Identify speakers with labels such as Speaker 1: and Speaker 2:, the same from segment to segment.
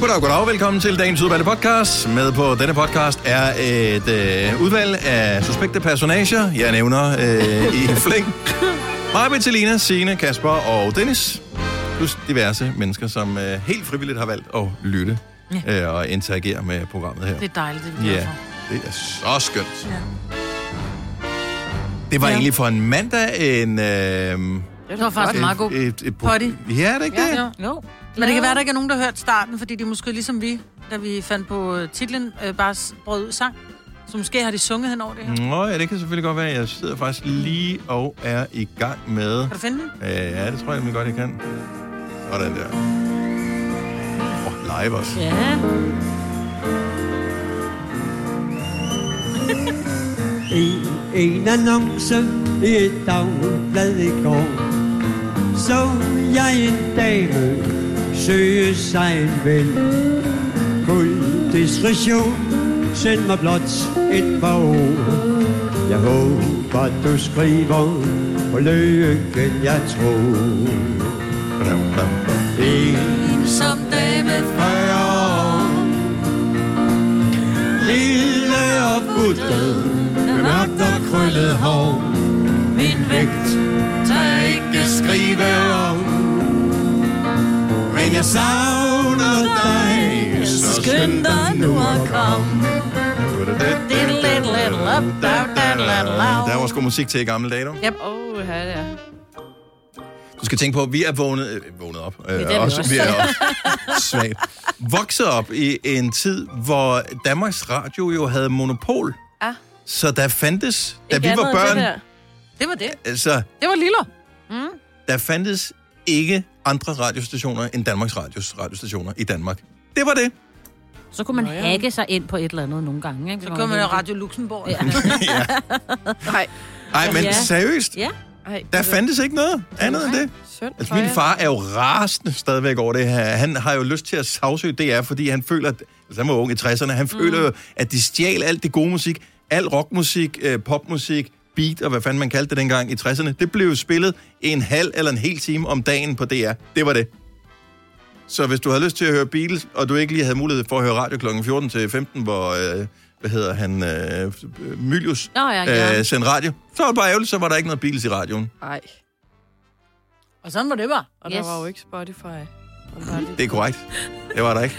Speaker 1: Goddag, goddag. Velkommen til dagens udvalgte podcast. Med på denne podcast er et øh, udvalg af suspekte personager. Jeg nævner øh, i flæng. Marbe, Selina, Signe, Kasper og Dennis. Plus diverse mennesker, som øh, helt frivilligt har valgt at lytte øh, og interagere med programmet her.
Speaker 2: Det er dejligt, det er vi glade
Speaker 1: Ja,
Speaker 2: for.
Speaker 1: det er så skønt. Ja. Det var ja. egentlig for en mandag en... Øh,
Speaker 2: Det var faktisk en meget god.
Speaker 1: et, et,
Speaker 2: potty.
Speaker 1: Ja, er det ikke det?
Speaker 2: Ja, jo.
Speaker 3: No.
Speaker 2: Men det kan være, der ikke er nogen, der har hørt starten, fordi de måske ligesom vi, da vi fandt på øh, titlen, øh, bare s- brød ud sang. Så måske har de sunget hen over det her. Mm.
Speaker 1: Nå, ja, det kan selvfølgelig godt være. Jeg sidder faktisk lige og er i gang med...
Speaker 2: Kan du finde den?
Speaker 1: Øh, ja, det tror jeg nemlig godt, jeg kan. Sådan der. Oh, live også.
Speaker 3: Ja.
Speaker 4: I en annonce i et dagblad i går Så jeg en dame søge sig en ven Fuld diskretition, send mig blot et par ord Jeg håber du skriver på lykken jeg tror
Speaker 1: Badam, badam, badam.
Speaker 4: En
Speaker 2: Som dame
Speaker 4: fyrre Lille og buttet med mørkt og krøllet hår
Speaker 2: min
Speaker 4: vægt
Speaker 2: tager
Speaker 4: ikke skrive om Men jeg savner dig Så skynd dig nu at komme
Speaker 1: Der var sgu musik til i gamle dage, du.
Speaker 2: Yep.
Speaker 3: Åh, her det er.
Speaker 1: Du skal tænke på, at vi er vågnet, øh, vågnet op. Øh,
Speaker 3: det er vi også.
Speaker 1: Vi er også svagt. Vokset op i en tid, hvor Danmarks Radio jo havde monopol.
Speaker 3: Ah.
Speaker 1: Så der fandtes, da
Speaker 3: Ikke
Speaker 1: vi var
Speaker 3: andet end det Mm.
Speaker 1: børn,
Speaker 3: der.
Speaker 2: Det var det.
Speaker 1: altså,
Speaker 2: Det var Lilo.
Speaker 1: der fandtes ikke andre radiostationer end Danmarks Radios radiostationer i Danmark. Det var det.
Speaker 5: Så kunne man Nå, ja. hacke sig ind på et eller andet nogle gange. Ikke?
Speaker 2: Så kører man jo Radio Luxembourg. Ja.
Speaker 1: ja.
Speaker 3: Nej.
Speaker 1: Ej, men
Speaker 5: Ja.
Speaker 1: seriøst,
Speaker 5: Ja.
Speaker 3: Ej,
Speaker 1: der
Speaker 5: Altså,
Speaker 1: fandtes ikke noget andet end det.
Speaker 3: Sødt.
Speaker 1: Altså, min far er jo rasende stadigvæk over det her. Han har jo lyst til at sagsøge DR, fordi han føler, at, altså han var ung i 60'erne, han mm. føler jo, at de stjal alt det gode musik, al rockmusik, øh, popmusik, beat og hvad fanden man kaldte det dengang i 60'erne. Det blev jo spillet en halv eller en hel time om dagen på DR. Det var det. Så hvis du havde lyst til at høre Beatles, og du ikke lige havde mulighed for at høre radio kl. 14 til 15, hvor, øh, hvad hedder han, øh, Mylius
Speaker 5: Nå ja, ja.
Speaker 1: øh, sendte radio, så var det bare ærgerligt, så var der ikke noget Beatles i radioen.
Speaker 3: Nej.
Speaker 2: Og sådan var det bare.
Speaker 3: Og yes. der
Speaker 5: Yes.
Speaker 3: var jo ikke Spotify. Og bare lige-
Speaker 1: Det er korrekt. Det var der ikke.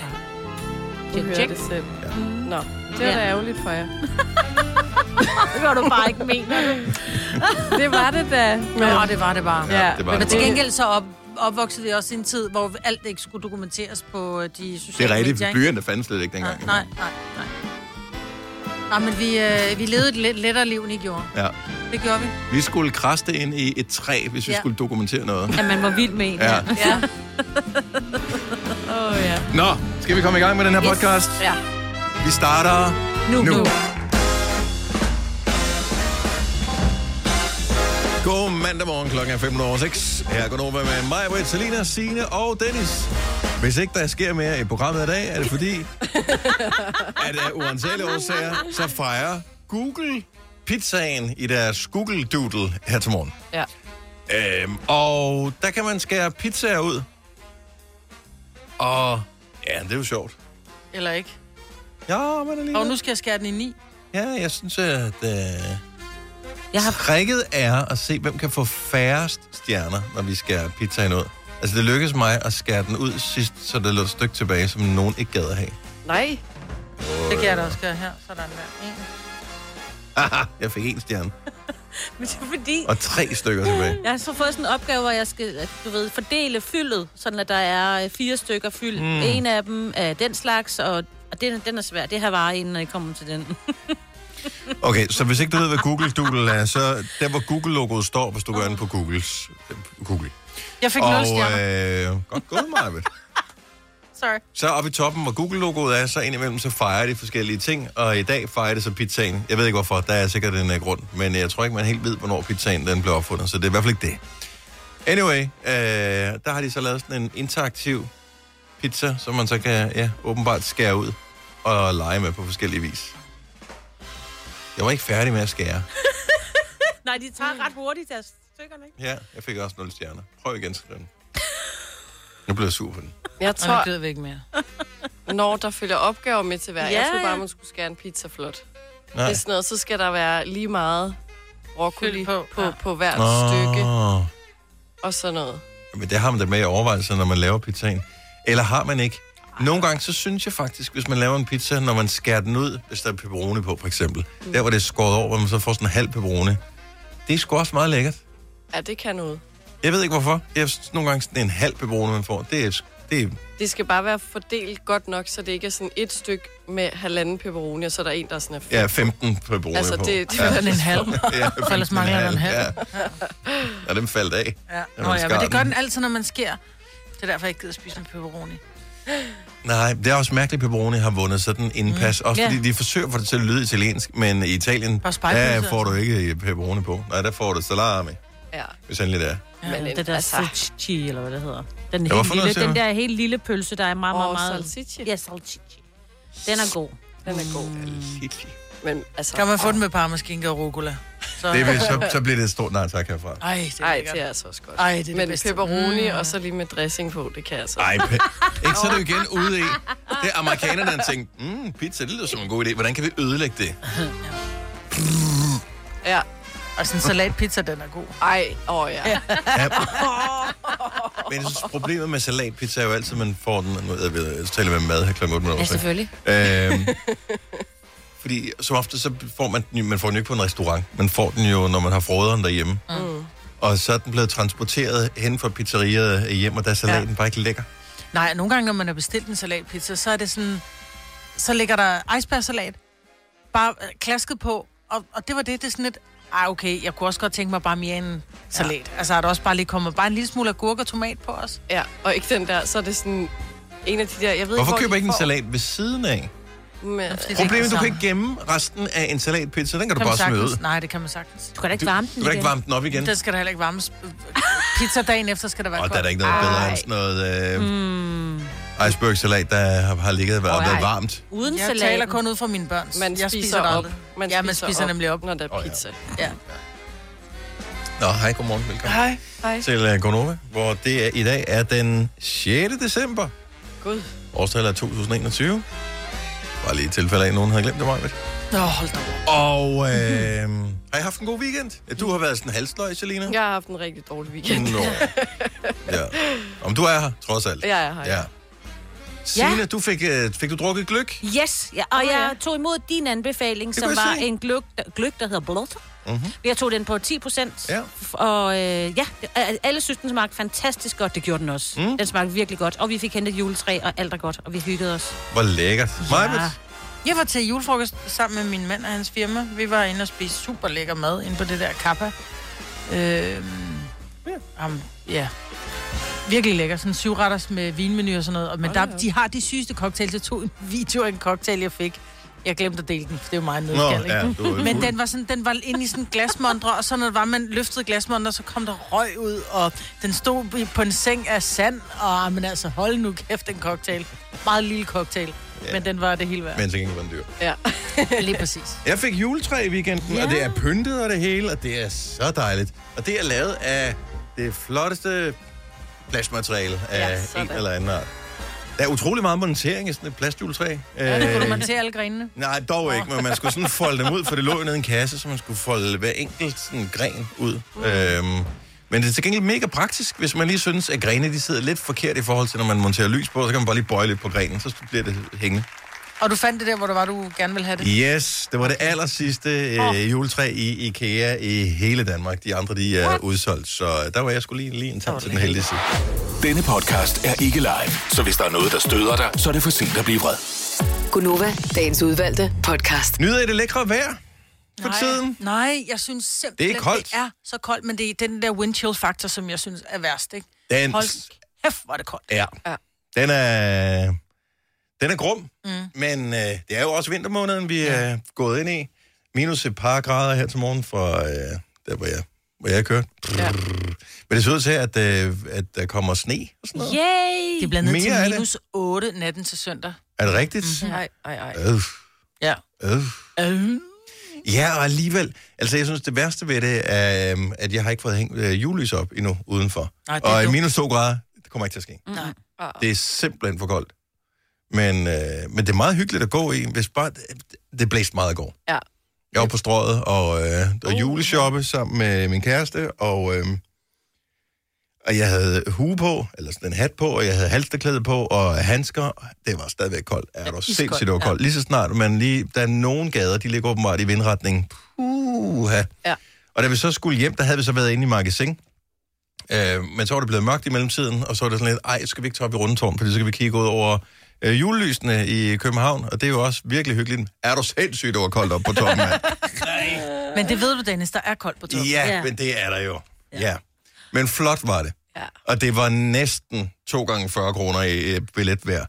Speaker 3: Du hører
Speaker 5: Check.
Speaker 3: det selv.
Speaker 1: Ja.
Speaker 2: Mm.
Speaker 3: Nå, det var
Speaker 5: Ja.
Speaker 3: da ærgerligt for jer.
Speaker 5: Det var du bare ikke mener.
Speaker 3: Det var det da.
Speaker 2: Ja, det var det bare.
Speaker 6: Ah,
Speaker 2: Ja.
Speaker 1: det var
Speaker 2: Men
Speaker 1: det
Speaker 2: til gengæld så op, opvoksede vi også i en tid, hvor alt ikke skulle dokumenteres på øh, de
Speaker 1: Det
Speaker 2: sociale
Speaker 1: er rigtigt,
Speaker 2: medier. ikke?
Speaker 1: byen der fandt slet ikke
Speaker 2: Nej,
Speaker 1: dengang.
Speaker 2: nej, nej. nej. Nej, men vi, øh, vi levede et let, lettere liv, end I gjorde.
Speaker 1: Ja.
Speaker 2: Det gjorde vi.
Speaker 1: Vi skulle kraste ind i et træ, hvis vi
Speaker 2: Ja.
Speaker 1: skulle dokumentere noget.
Speaker 5: At man var vild med en.
Speaker 1: Ja.
Speaker 2: Ja.
Speaker 3: Åh, ja.
Speaker 1: Nå, skal vi komme i gang med den her podcast?
Speaker 2: ja.
Speaker 1: Vi starter nu. nu. God mandag morgen, klokken er 5.06. Her går Nova med mig, Britt, Selina, Signe og Dennis. Hvis ikke der sker mere i programmet i dag, er det fordi, at af uansagelige årsager, så fejrer Google pizzaen i deres Google Doodle her til morgen.
Speaker 3: Ja.
Speaker 1: Øhm, og der kan man skære pizzaer ud. Og ja, det er jo sjovt.
Speaker 2: Eller ikke.
Speaker 1: Ja, men alligevel.
Speaker 2: Og nu skal jeg skære den i ni.
Speaker 1: Ja, jeg synes, at øh,
Speaker 5: Jeg har
Speaker 1: trækket er at se, hvem kan få færrest stjerner, når vi skærer pizzaen ud. Altså, det lykkedes mig at skære den ud sidst, så der lå et stykke tilbage, som nogen ikke gad at have.
Speaker 3: Nej.
Speaker 2: Det kan jeg da også gøre her. Sådan der. En.
Speaker 1: Haha, jeg fik en stjerne.
Speaker 5: Men det er fordi...
Speaker 1: Og tre stykker tilbage.
Speaker 5: Jeg har så fået sådan en opgave, hvor jeg skal at du ved, fordele fyldet, sådan at der er øh, fire stykker fyld. Mm. En af dem er den slags, og, og den, den er svær. Det her var inden jeg kom til den.
Speaker 1: Okay, så hvis ikke du ved, hvad Google Doodle er, så der, hvor Google-logoet står, hvis du går ind på Googles, Google.
Speaker 2: Jeg fik nul
Speaker 1: Og
Speaker 2: stjerner.
Speaker 1: øh, godt gået, Marvitt.
Speaker 2: Sorry.
Speaker 1: Så oppe i toppen, hvor Google-logoet er, så indimellem så fejrer de forskellige ting, og i dag fejrer det så pizzaen. Jeg ved ikke hvorfor, der er sikkert en uh, grund, men jeg tror ikke, man helt ved, hvornår pizzaen den blev opfundet, så det er i hvert fald ikke det. Anyway, øh, der har de så lavet sådan en interaktiv pizza, som man så kan ja, åbenbart skære ud og lege med på forskellige vis. Jeg var ikke færdig med at skære.
Speaker 5: Nej, de tager ret hurtigt altså. deres stykkerne, ikke?
Speaker 1: Ja, jeg fik også 0 stjerner. Prøv igen, skriv den. Nu blev jeg sur på den.
Speaker 3: Jeg
Speaker 2: Og nu
Speaker 3: tror,
Speaker 2: gider vi ikke mere.
Speaker 6: Når der følger opgaver med til hver. Ja,
Speaker 5: Ja,
Speaker 6: jeg troede bare,
Speaker 5: ja.
Speaker 6: man skulle skære en pizza flot.
Speaker 1: Nej.
Speaker 6: Det er sådan noget, så skal der være lige meget broccoli
Speaker 2: Fyld
Speaker 6: på,
Speaker 2: på,
Speaker 6: på, ja.
Speaker 2: ja.
Speaker 6: på hvert stykke
Speaker 1: Åh,
Speaker 6: og sådan noget.
Speaker 1: Men det har man da med i overvejelser, når man laver pizzaen. Eller har man ikke? Nogle gange, så synes jeg faktisk, hvis man laver en pizza, når man skærer den ud, hvis der er pepperoni på, for eksempel. Der, hvor det er skåret over, hvor man så får sådan en halv pepperoni. Det er sgu også meget lækkert.
Speaker 6: Ja, det kan noget.
Speaker 1: Jeg ved ikke hvorfor. Jeg synes nogle gange, sådan en halv pepperoni, man får. Det er, det er
Speaker 6: Det skal bare være fordelt godt nok, så det ikke er sådan et stykke med halvanden pepperoni, og så er der en, der sådan er fem.
Speaker 1: ja, 15 pepperoni
Speaker 6: Altså,
Speaker 1: på.
Speaker 6: det- det
Speaker 1: ja.
Speaker 6: er
Speaker 2: Den er en halv.
Speaker 1: Ja,
Speaker 2: for ellers mangler der en halv.
Speaker 1: Ja. Og den faldt af.
Speaker 2: Ja.
Speaker 1: Ja,
Speaker 2: Nå
Speaker 1: man
Speaker 2: ja,
Speaker 1: skar
Speaker 2: men det gør
Speaker 1: den.
Speaker 2: den altid, når man sker. Det er derfor, jeg ikke gider spise en pepperoni.
Speaker 1: Nej, det er også mærkeligt, at pepperoni har vundet sådan en pas. Også
Speaker 2: Ja.
Speaker 1: fordi de forsøger at få det til at lyde italiensk, men i Italien,
Speaker 2: Og spejlpølse,
Speaker 1: der
Speaker 2: altså.
Speaker 1: får du ikke pepperoni på. Nej, der får du salami,
Speaker 6: Ja.
Speaker 1: hvis endelig det er.
Speaker 6: Ja, Men
Speaker 5: Men
Speaker 6: en-
Speaker 5: det der
Speaker 6: altså-
Speaker 5: altså... salchichi, eller hvad det hedder. Den,
Speaker 1: Ja, hvorfor
Speaker 5: helt lille,
Speaker 1: noget, siger
Speaker 5: den
Speaker 1: du?
Speaker 5: der helt lille pølse, der er meget, meget,
Speaker 6: Og
Speaker 5: meget...
Speaker 6: salsichi.
Speaker 5: Ja, salchichi. Den er god.
Speaker 6: Den er god.
Speaker 1: Mm.
Speaker 6: Men altså...
Speaker 2: Kan man få den med parmaskinke og rucola? Så...
Speaker 1: Det vil, så, så bliver det et stort nej tak herfra.
Speaker 2: Ej, det er
Speaker 6: Ej,
Speaker 2: lækkert.
Speaker 6: det er altså også godt.
Speaker 2: Ej, det er det
Speaker 6: Men
Speaker 2: bedste. Mm.
Speaker 6: pepperoni og så lige med dressing på, det kan jeg altså.
Speaker 1: Ej, pe- ikke så er det jo igen ude i. Det er amerikanerne, der har tænkt, mm, pizza, det lyder som en god idé. Hvordan kan vi ødelægge det?
Speaker 6: Ja.
Speaker 2: Og sådan en salatpizza, den er god.
Speaker 6: Ej, åh oh, ja.
Speaker 1: Ja. Men jeg synes, problemet med salatpizza er jo altid, at man får den... Nu jeg ved, jeg taler med mad her kl. 8 minutter.
Speaker 5: Ja, selvfølgelig.
Speaker 1: Øhm, fordi som ofte, så får man den, jo- man får den jo ikke på en restaurant. Man får den jo, når man har froderen derhjemme. Mm. Og så er den blevet transporteret hen fra pizzeriet hjem, og der er salaten ja. bare ikke lækker.
Speaker 2: Nej, nogle gange, når man har bestilt en salatpizza, så er det sådan... Så ligger der icebergsalat, bare øh, klasket på, og, og det var det, det er sådan lidt... Ej, okay, jeg kunne også godt tænke mig bare mere en salat. Ja. Altså, er der også bare lige kommet bare en lille smule agurk og tomat på os?
Speaker 6: Ja, og ikke den der, så er det sådan en af de øh, der, jeg ved
Speaker 1: Hvorfor
Speaker 6: ikke,
Speaker 1: køber
Speaker 6: hvor
Speaker 1: ikke en salat ved siden af?
Speaker 6: Med,
Speaker 2: Fordi det er ikke
Speaker 1: Problemet
Speaker 2: det
Speaker 1: er, du kan
Speaker 2: samme.
Speaker 1: ikke gemme resten af en salatpizza. Den kan,
Speaker 2: Kan
Speaker 1: du
Speaker 2: man
Speaker 1: bare smide ud.
Speaker 2: sagtens? Nej, det kan man sagtens.
Speaker 5: Du kan da ikke
Speaker 1: Du,
Speaker 5: varme den
Speaker 1: du kan ikke
Speaker 5: igen.
Speaker 1: varme den op igen.
Speaker 2: Den skal der heller ikke varmes. Øh, Pizza dagen efter skal der være
Speaker 1: Og der
Speaker 2: kold.
Speaker 1: er der ikke noget bedre end sådan noget... Øh, Iceberg-salat, der har- har ligget og været,
Speaker 5: Åh,
Speaker 1: været
Speaker 5: ej.
Speaker 1: varmt.
Speaker 5: Uden
Speaker 2: Jeg
Speaker 5: salaten.
Speaker 2: taler kun ud fra mine børn.
Speaker 6: man spiser,
Speaker 2: jeg spiser det
Speaker 6: op.
Speaker 2: aldrig. ja, man spiser nemlig op.
Speaker 6: når der
Speaker 1: Åh,
Speaker 6: er
Speaker 1: ja.
Speaker 6: pizza. Oh,
Speaker 2: Ja.
Speaker 1: Nå, hej, godmorgen. Velkommen
Speaker 6: Hej. Hej.
Speaker 1: til uh, Gonova, hvor det er, i dag er den 6. december.
Speaker 6: Gud.
Speaker 1: Årstallet er 2021. Bare lige i tilfælde af, at nogen havde glemt det meget.
Speaker 2: Nå, hold da op.
Speaker 1: Og øh, har I haft en god weekend? Ja, Du har været sådan halvsløj, Selina.
Speaker 6: Jeg har haft en rigtig dårlig weekend.
Speaker 1: Nå. Ja. Om du er her, trods alt.
Speaker 6: Ja, jeg har.
Speaker 1: ja. Signe, du fik, øh, fik du drukket gløk?
Speaker 5: Yes, ja, og
Speaker 6: Åh, ja.
Speaker 5: jeg tog imod din anbefaling,
Speaker 1: Det
Speaker 5: som
Speaker 1: kunne jeg
Speaker 5: var
Speaker 1: se.
Speaker 5: en gløk, der- gløk, der hedder Blotter.
Speaker 1: Mhm.
Speaker 5: Mm-hmm. Jeg tog den på 10 procent,
Speaker 1: Ja.
Speaker 5: og øh, ja, det- alle synes, den smagte fantastisk godt. Det gjorde den også.
Speaker 1: Mm.
Speaker 5: Mm. Den smagte virkelig godt, og vi fik hentet juletræ, og alt er godt, og vi hyggede os.
Speaker 1: Hvor lækkert. Ja.
Speaker 2: Jeg var til julefrokost sammen med min mand og hans firma. Vi var inde og spise super lækker mad inde på det der kappa. Øhm, ja. Um, ja. Virkelig lækker. Sådan syvretters med vinmenu og sådan noget. Og- Men der, de har de sygeste cocktails. Jeg tog en video af en cocktail, jeg fik. Jeg glemte at dele den, for det er jo meget
Speaker 1: Nå,
Speaker 2: nødskal,
Speaker 1: ja, du er
Speaker 2: Men den var, sådan, den var inde i sådan en glasmontre, og så når det var, man løftede glasmontre, så kom der røg ud, og den stod i- på en seng af sand, og ah, men altså, hold nu kæft, den cocktail. Meget lille cocktail,
Speaker 1: Ja.
Speaker 2: ja. men den var det hele værd.
Speaker 1: Men til gengæld var den dyr.
Speaker 6: Ja.
Speaker 2: Lige præcis.
Speaker 1: Jeg fik juletræ i weekenden, ja. og det er pyntet og det hele, og det er så dejligt. Og det er lavet af det flotteste plastmateriale af
Speaker 6: Ja,
Speaker 1: ja,
Speaker 6: sådan.
Speaker 1: en eller anden art. Der er utrolig meget montering i sådan et plastjuletræ. Ja,
Speaker 2: Kunne du montere alle grenene?
Speaker 1: Nej, dog ikke, men man skulle sådan folde dem ud, for det lå jo nede i en kasse, så man skulle folde hver enkelt sådan gren ud. Mm. Øhm, men det er til gengæld mega praktisk, hvis man lige synes, at grene de sidder lidt forkert i forhold til, når man monterer lys på, så kan man bare lige bøje lidt på grenen, så bliver det hængende.
Speaker 2: Og du fandt det der, hvor du var, du gerne ville have det?
Speaker 1: Yes, det var det aller sidste øh, juletræ i IKEA i hele Danmark. De andre, de er udsolgt, så der var jeg skulle lige, lige en tand til den heldige side.
Speaker 7: Denne podcast er ikke live, så hvis der er noget, der støder dig, så er det for sent at blive vred.
Speaker 8: Gunova, dagens udvalgte podcast.
Speaker 1: Nyder I det lækre vejr for
Speaker 2: Nej.
Speaker 1: tiden?
Speaker 2: Nej, jeg synes simpelthen,
Speaker 1: Det er koldt.
Speaker 2: det er så koldt, men det er den der wind chill faktor, som jeg synes er værst, ikke?
Speaker 1: Den,
Speaker 2: Hold kæft, hvor er det koldt.
Speaker 1: ja.
Speaker 6: Ja.
Speaker 1: den er, den er grum, mm. men øh, det er jo også vintermåneden, vi er gået ind i. Minus et par grader her til morgen fra øh, der, hvor jeg, hvor jeg kørte.
Speaker 6: Ja.
Speaker 1: Men det ser ud til, at, øh, at der kommer sne og sådan noget. Yeah.
Speaker 5: Yay!
Speaker 2: Det bliver ned
Speaker 1: Mere af
Speaker 2: til
Speaker 1: det.
Speaker 2: minus 8 natten til søndag. Mhm.
Speaker 1: Er det rigtigt?
Speaker 6: Ej, ej, ej.
Speaker 1: Mm. Øh,
Speaker 2: Ja.
Speaker 1: øh.
Speaker 2: Øh.
Speaker 1: Ja, og alligevel. Altså, jeg synes, det værste ved det er, øhm, at jeg har ikke fået hængt øh, julelys op endnu udenfor.
Speaker 2: Nej, det er
Speaker 1: og i
Speaker 2: dumt.
Speaker 1: minus 2 grader, det kommer ikke til at ske.
Speaker 2: Nej.
Speaker 1: Det er simpelthen for koldt. Men, øh, men det er meget hyggeligt at gå i, hvis bare... Det blæste meget i går.
Speaker 6: Ja.
Speaker 1: Jeg var på strøget og, øh, og juleshoppe sammen med min kæreste, og, øh, og jeg havde hue på, eller sådan en hat på, og jeg havde halsteklæde på, og handsker. og Det var stadigvæk koldt. Er du sindssygt, det var koldt. Lige så snart, man lige, der er nogle gader, de ligger åbenbart i vindretning. Puha.
Speaker 6: Ja.
Speaker 1: Og da vi så skulle hjem, der havde vi så været inde i magasin. Øh, men så var det blevet mørkt i mellemtiden, og så var det sådan lidt, ej, skal vi ikke tage op i rundetårn, fordi så kan vi kigge ud over øh, julelysene i København, og det er jo også virkelig hyggeligt. Er du sindssygt, det var koldt op på toppen, mand?
Speaker 2: Men det ved du, Dennis, der er koldt på toppen.
Speaker 1: Ja,
Speaker 5: Ja.
Speaker 1: men det er der jo. Ja. ja. Men flot var det. Ja. Og det var næsten 2 gange 40 kroner i øh, billet hver.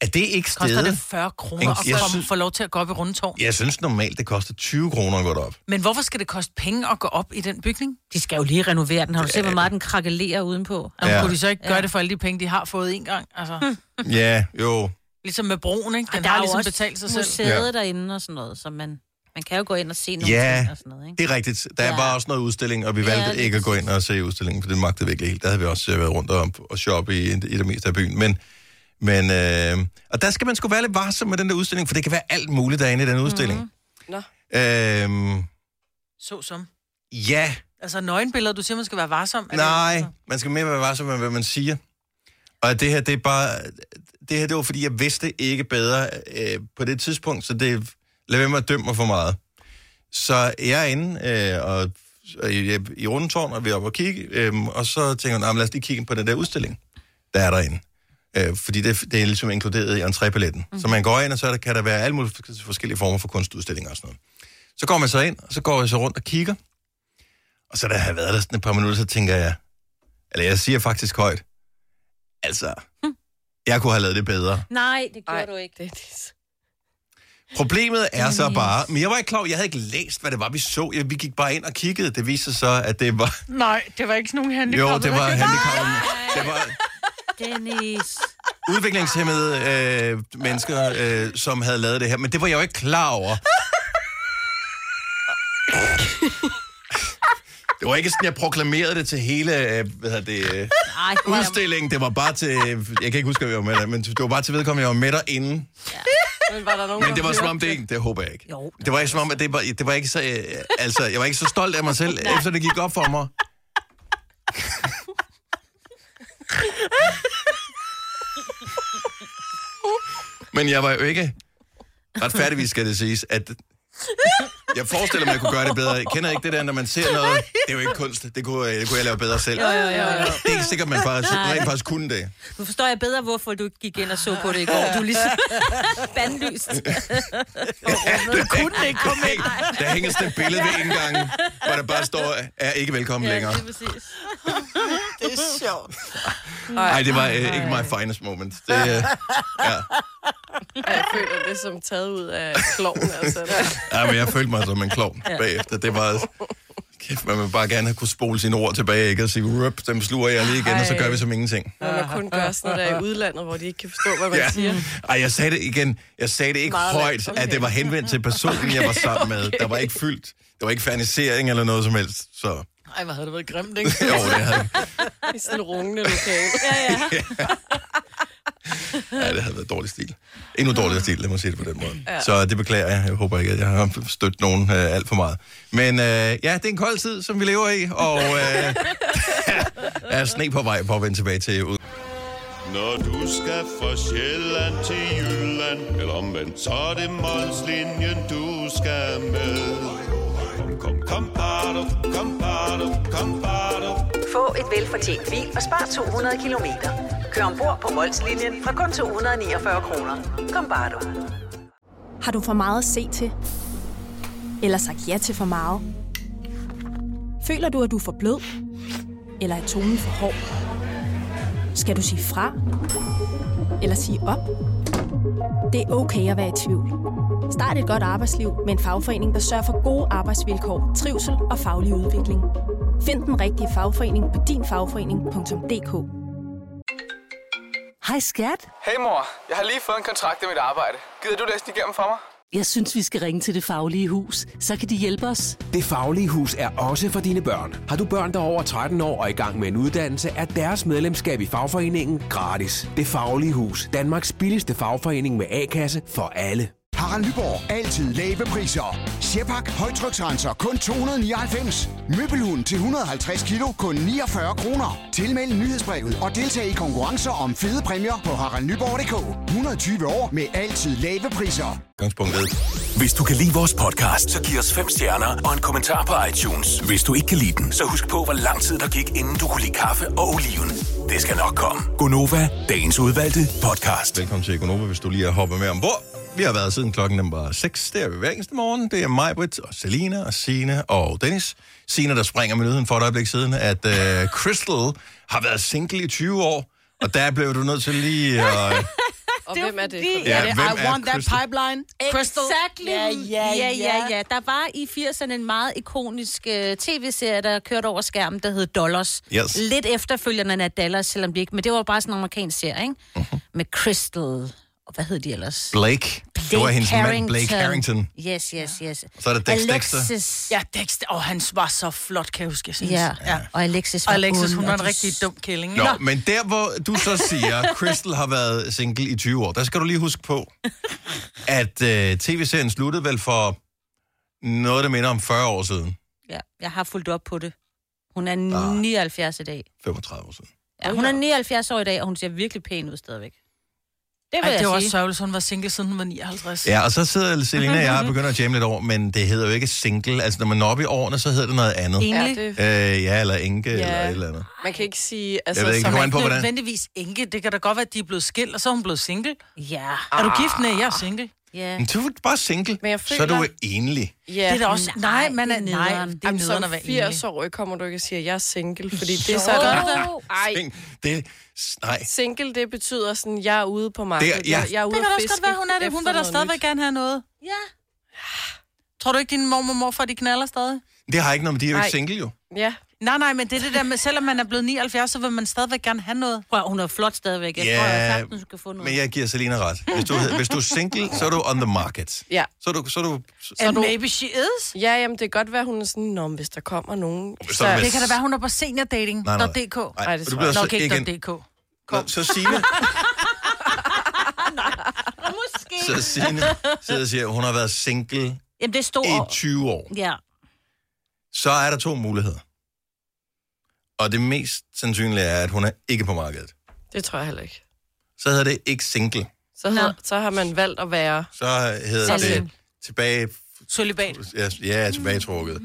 Speaker 1: Er det ikke
Speaker 2: Koster det
Speaker 1: stedet?
Speaker 2: 40 kroner
Speaker 1: Jeg
Speaker 2: at komme,
Speaker 1: synes-
Speaker 2: få lov til at gå op i rundetårn?
Speaker 1: Jeg synes normalt, det koster 20 kroner at gå derop.
Speaker 2: Men hvorfor skal det koste penge at gå op i den bygning?
Speaker 5: De skal jo lige renovere den. Har du set, hvor meget den krakelerer udenpå?
Speaker 2: Altså,
Speaker 1: Ja.
Speaker 2: ja. Kunne de så ikke gøre det for alle de penge, de har fået en gang? Altså,
Speaker 1: Ja, jo.
Speaker 2: ligesom med broen, ikke? Den
Speaker 5: Mm. Der er
Speaker 2: har
Speaker 5: jo
Speaker 2: ligesom
Speaker 5: også
Speaker 2: betalt sig selv.
Speaker 5: museet
Speaker 1: Ja.
Speaker 5: ja. derinde og sådan noget, så man, man kan jo gå ind og se nogle
Speaker 1: Ja.
Speaker 5: ting og sådan noget, ikke?
Speaker 1: Det er rigtigt. Der ja.
Speaker 5: Ja.
Speaker 1: var også noget udstilling, og vi
Speaker 5: Ja,
Speaker 1: valgte
Speaker 5: lige
Speaker 1: ikke at gå
Speaker 5: præcis.
Speaker 1: ind og se udstillingen, for det magtede vi ikke helt. Der havde vi også øh, været rundt og, og shoppe i, i det meste af byen. Men, men øh, og der skal man sgu være lidt varsom med den der udstilling, for det kan være alt muligt derinde i den udstilling.
Speaker 6: Nå.
Speaker 5: Mhm.
Speaker 1: Mm-hmm. Øh,
Speaker 2: Så som.
Speaker 1: ja,
Speaker 2: Altså nøgenbilleder, du siger, man skal være varsom. Er
Speaker 1: Nej,
Speaker 2: Det, Altså.
Speaker 1: man skal mere være varsom med, hvad man siger. Og det her, det er bare... Det her, det var, fordi jeg vidste ikke bedre øh, på det tidspunkt, så det... Lad være med at dømme mig for meget. Så jeg er inde øh, og, og i, i rundetårn, og vi er oppe og kigge, øh, og så tænker jeg, "Nå, men lad os lige kigge på den der udstilling, der er derinde. Øh, fordi det, det er ligesom inkluderet i entrépaletten.
Speaker 2: Mhm.
Speaker 1: Mm. Så man går ind, og så er der, kan der være alle mulige forskellige former for kunstudstillinger og sådan noget. Så går man så ind, og så går jeg så rundt og kigger, og så da jeg har været der sådan et par minutter, så tænker jeg, eller jeg siger faktisk højt, altså, jeg kunne have lavet det bedre.
Speaker 5: Nej, det gjorde
Speaker 6: Ej,
Speaker 5: Ej. du ikke.
Speaker 6: Det, det,
Speaker 1: Problemet er så bare, men jeg var ikke klar, over- jeg havde ikke læst, hvad det var, vi så. Jeg- Vi gik bare ind og kiggede. Det viste sig så, at det var...
Speaker 2: Nej, det var ikke sådan nogen
Speaker 1: Jo,
Speaker 2: handicap.
Speaker 1: det var handicappede. Det var
Speaker 5: Dennis.
Speaker 1: udviklingshemmede øh, mennesker, øh, som havde lavet det her. Men det var jeg jo ikke klar over. Det var ikke sådan, jeg proklamerede det til hele, øh, hvad hedder det, øh,
Speaker 5: Ej, hvor er jeg-
Speaker 1: udstillingen. Det var bare til, jeg kan ikke huske, hvad jeg var med der, men det var bare til vedkommende, jeg var med derinde.
Speaker 6: men var der nogen,
Speaker 1: Men det var
Speaker 6: der
Speaker 1: som om,
Speaker 6: hørte
Speaker 1: det ikke... Det håber jeg ikke.
Speaker 5: Jo.
Speaker 1: Det var ikke som om, at det var, det var ikke så... Øh, altså, jeg var ikke så stolt af mig selv, efter det gik op for mig. Men jeg var jo ikke... Retfærdigvis skal det siges, at... Jeg forestiller mig, at jeg kunne gøre det bedre. Jeg kender ikke det der, når man ser noget. Det er jo ikke kunst. Det kunne, øh, det kunne jeg lave bedre selv. Det
Speaker 5: Jo, jo, jo.
Speaker 1: er ikke sikkert, at man faktisk, rent faktisk kunne det.
Speaker 5: Nu forstår jeg bedre, hvorfor du ikke gik ind og så på det i går. Du er lige så bandlyst.
Speaker 1: Det kunne den ikke komme ind. Der hænger sådan et billede ved indgangen, hvor der bare står, er ikke velkommen længere.
Speaker 5: det er præcis.
Speaker 1: Nej, det var øh, ikke my finest moment. Det, øh, ja.
Speaker 6: Ja, Jeg føler det som taget ud af kloven, altså.
Speaker 1: ja, men jeg følte mig som en klovn bagefter. Det var... Kæft, man vil bare gerne have kunne spole sine ord tilbage, ikke? Og sige, rup, dem sluger jeg lige igen, og så gør vi som ingenting.
Speaker 6: Når man kun gør sådan noget der i udlandet, hvor de ikke kan forstå, hvad man
Speaker 1: Ja.
Speaker 6: siger.
Speaker 1: Ej, jeg sagde det igen. Jeg sagde det ikke
Speaker 6: Meget
Speaker 1: højt,
Speaker 6: lavt. Okay.
Speaker 1: at det var henvendt til personen, jeg var sammen med. Der var ikke fyldt. Der var ikke fernisering eller noget som helst. Så
Speaker 2: Ej, hvor havde det været grimt, ikke?
Speaker 1: jo, det havde,
Speaker 6: I sådan en rungende lokale.
Speaker 1: ja, det havde været dårlig stil. Endnu dårligere stil, lad mig sige det på den måde. Ja. Så det beklager jeg. Jeg håber ikke, at jeg har stødt nogen øh, alt for meget. Men øh, ja, det er en kold tid, som vi lever i, og øh, der er sne på vej på at vende tilbage til ud.
Speaker 9: Når du skal fra Sjælland til Jylland, eller omvendt, så er det Molslinjen, du skal med. Kom, kom, kom, bado, kom, bado, kom, bado.
Speaker 10: Få et velfortjent bil og spar 200 kilometer. Kør ombord på Molslinjen fra kun 249 kroner. Kom bare du.
Speaker 11: Har du for meget at se til? Eller sagt ja til for meget? Føler du, at du er for blød? Eller er tonen for hård? Skal du sige fra? Eller sige op? Det er okay at være i tvivl. Start et godt arbejdsliv med en fagforening, der sørger for gode arbejdsvilkår, trivsel og faglig udvikling. Find den rigtige fagforening på dinfagforening.dk.
Speaker 10: Hej skat.
Speaker 12: Hey mor, jeg har lige fået en kontrakt med mit arbejde. Gider du læse den igennem for mig? Jeg synes, vi skal ringe til Det Faglige Hus. Så kan de hjælpe os.
Speaker 13: Det Faglige Hus er også for dine børn. Har du børn, der er over 13 år og i gang med en uddannelse, er deres medlemskab i fagforeningen gratis. Det Faglige Hus. Danmarks billigste fagforening med A-kasse for alle.
Speaker 14: Harald Nyborg. Altid lave priser. Sjehpak. Højtryksrenser. Kun 299. Møbelhund til 150 kilo. Kun 49 kroner. Tilmeld nyhedsbrevet og deltag i konkurrencer om fede præmier på haraldnyborg.dk. 120 år med altid lave priser.
Speaker 7: Hvis du kan lide vores podcast, så giv os fem stjerner og en kommentar på iTunes. Hvis du ikke kan lide den, så husk på, hvor lang tid der gik, inden du kunne lide kaffe og oliven. Det skal nok komme.
Speaker 1: Gonova, dagens udvalgte podcast. Velkommen til Gonova, hvis du lige er hoppet med ombord. Vi har været siden klokken nummer 6. Det er vi hver eneste morgen. Det er mig, Britt, og Selina, og Sine og Dennis. Sine, der springer med nyheden for et øjeblik siden, at øh, Crystal har været single i 20 år. Og der blev du nødt til lige at... Øh,
Speaker 6: Og hvem er det?
Speaker 5: fordi-
Speaker 1: Ja, hvem er Crystal?
Speaker 5: pipeline.
Speaker 6: Crystal.
Speaker 5: Exactly.
Speaker 6: Ja, ja,
Speaker 5: ja, ja,
Speaker 6: ja.
Speaker 5: ja. Der var i 80'erne en meget ikonisk øh, tv-serie, der kørte over skærmen, der hed Dollars.
Speaker 15: Yes.
Speaker 5: Lidt efterfølgende af Dallas, selvom de ikke... Men det var bare sådan en amerikansk serie, ikke?
Speaker 1: Mhm.
Speaker 5: Med Crystal... Og hvad hed de ellers?
Speaker 1: Blake. Det var hendes mand, Blake Harrington.
Speaker 5: Yes, yes, yes.
Speaker 1: Så er der Dex Dexter.
Speaker 5: Alexis.
Speaker 2: Ja, Dexter. Og han var så flot, kan jeg huske, jeg synes.
Speaker 5: Ja, og Alexis var
Speaker 2: Og Alexis,
Speaker 5: ond,
Speaker 2: hun
Speaker 5: og
Speaker 2: var en
Speaker 5: de-
Speaker 2: rigtig dum kælling.
Speaker 1: Nå, men der, hvor du så siger, Crystal har været single i 20 år, der skal du lige huske på, at øh, tv-serien sluttede vel for noget, der minder om 40 år siden.
Speaker 5: Ja, jeg har fulgt op på det. Hun er 79 i dag.
Speaker 1: 35 Ah. år siden.
Speaker 5: Ja, hun er 79 år i dag, og hun ser virkelig pæn ud stadigvæk. Det vil
Speaker 2: Ej,
Speaker 5: jeg
Speaker 2: det var også
Speaker 5: sige.
Speaker 2: sørgeligt, hun var single siden hun var 59.
Speaker 1: Ja, og så sidder Selina og jeg og begynder at jamme lidt over, men det hedder jo ikke single. Altså, når man når op i årene, så hedder det noget andet.
Speaker 2: Enlig.
Speaker 1: Øh, ja, eller enke, ja. eller et eller andet.
Speaker 6: Man kan ikke sige...
Speaker 1: altså, ved ikke, det kommer an på, hvordan-
Speaker 2: nødvendigvis enke. Det kan da godt være, at de er blevet skilt, og så er hun blevet single.
Speaker 5: Ja.
Speaker 2: Er du gift? Nej, jeg er single.
Speaker 5: Ja.
Speaker 1: Men du er bare single,
Speaker 6: Men jeg
Speaker 1: så er
Speaker 6: føler-
Speaker 1: du jo enlig.
Speaker 6: Ja,
Speaker 2: Det er da også- nej, man er- nej, det er
Speaker 6: Jamen,
Speaker 2: nederen at
Speaker 6: som
Speaker 2: være enlig.
Speaker 6: 80 år kommer du ikke og siger, at jeg er single, fordi det er
Speaker 2: Jo.
Speaker 6: så
Speaker 2: Jo.
Speaker 6: Ej,
Speaker 1: Det, nej.
Speaker 6: single, det betyder sådan, jeg er ude på markedet.
Speaker 1: Det er- ja.
Speaker 6: jeg, jeg er
Speaker 2: Det
Speaker 6: ude
Speaker 2: kan da
Speaker 6: at
Speaker 2: også godt
Speaker 6: fiske
Speaker 2: være, hun er det. Hun
Speaker 6: efter
Speaker 2: vil da
Speaker 6: noget
Speaker 2: stadigvæk
Speaker 6: nyt.
Speaker 2: gerne have noget.
Speaker 5: Ja.
Speaker 2: Tror du ikke, din mormor og morfar, de knaller stadig?
Speaker 1: Det har ikke noget, med de er jo
Speaker 2: Nej.
Speaker 1: ikke single, jo.
Speaker 6: Ja.
Speaker 2: Nej, nej, men det er det der med, selvom man er blevet 79, så vil man stadigvæk gerne have noget.
Speaker 5: Prøv, hun er flot stadigvæk.
Speaker 1: Jeg Ja, tror, jeg sagtens,
Speaker 5: hun skal få
Speaker 1: Men jeg giver Selina ret. Hvis du, hvis du er single, så er du on the market.
Speaker 6: Ja.
Speaker 1: Så er du, så er du, så,
Speaker 2: she is?
Speaker 6: Ja, jamen, det kan godt være, hun er sådan, Nå, men hvis der kommer nogen...
Speaker 1: så er det
Speaker 2: Det kan da
Speaker 1: vist-
Speaker 2: være, hun er på seniordating.dk.
Speaker 1: Nej, nej. Nej,
Speaker 2: Nej, det
Speaker 1: og du
Speaker 2: tror
Speaker 1: bliver
Speaker 2: jeg.
Speaker 1: så
Speaker 2: Nok ikke
Speaker 1: igen-
Speaker 2: .dk.
Speaker 1: Nå, så Signe,
Speaker 5: Måske.
Speaker 1: så Signe sidder og siger, at hun har været single
Speaker 5: Jamen, det er stor.
Speaker 1: i 20 år.
Speaker 5: Ja.
Speaker 1: Så er der to muligheder. Og det mest sandsynlige er, at hun er ikke på markedet.
Speaker 6: Det tror jeg heller ikke.
Speaker 1: Så hedder det ikke single.
Speaker 6: Så, hedder, så har man valgt at være...
Speaker 1: Så hedder
Speaker 6: Single.
Speaker 1: det tilbage...
Speaker 2: Solibat.
Speaker 1: Ja, ja tilbagetrukket.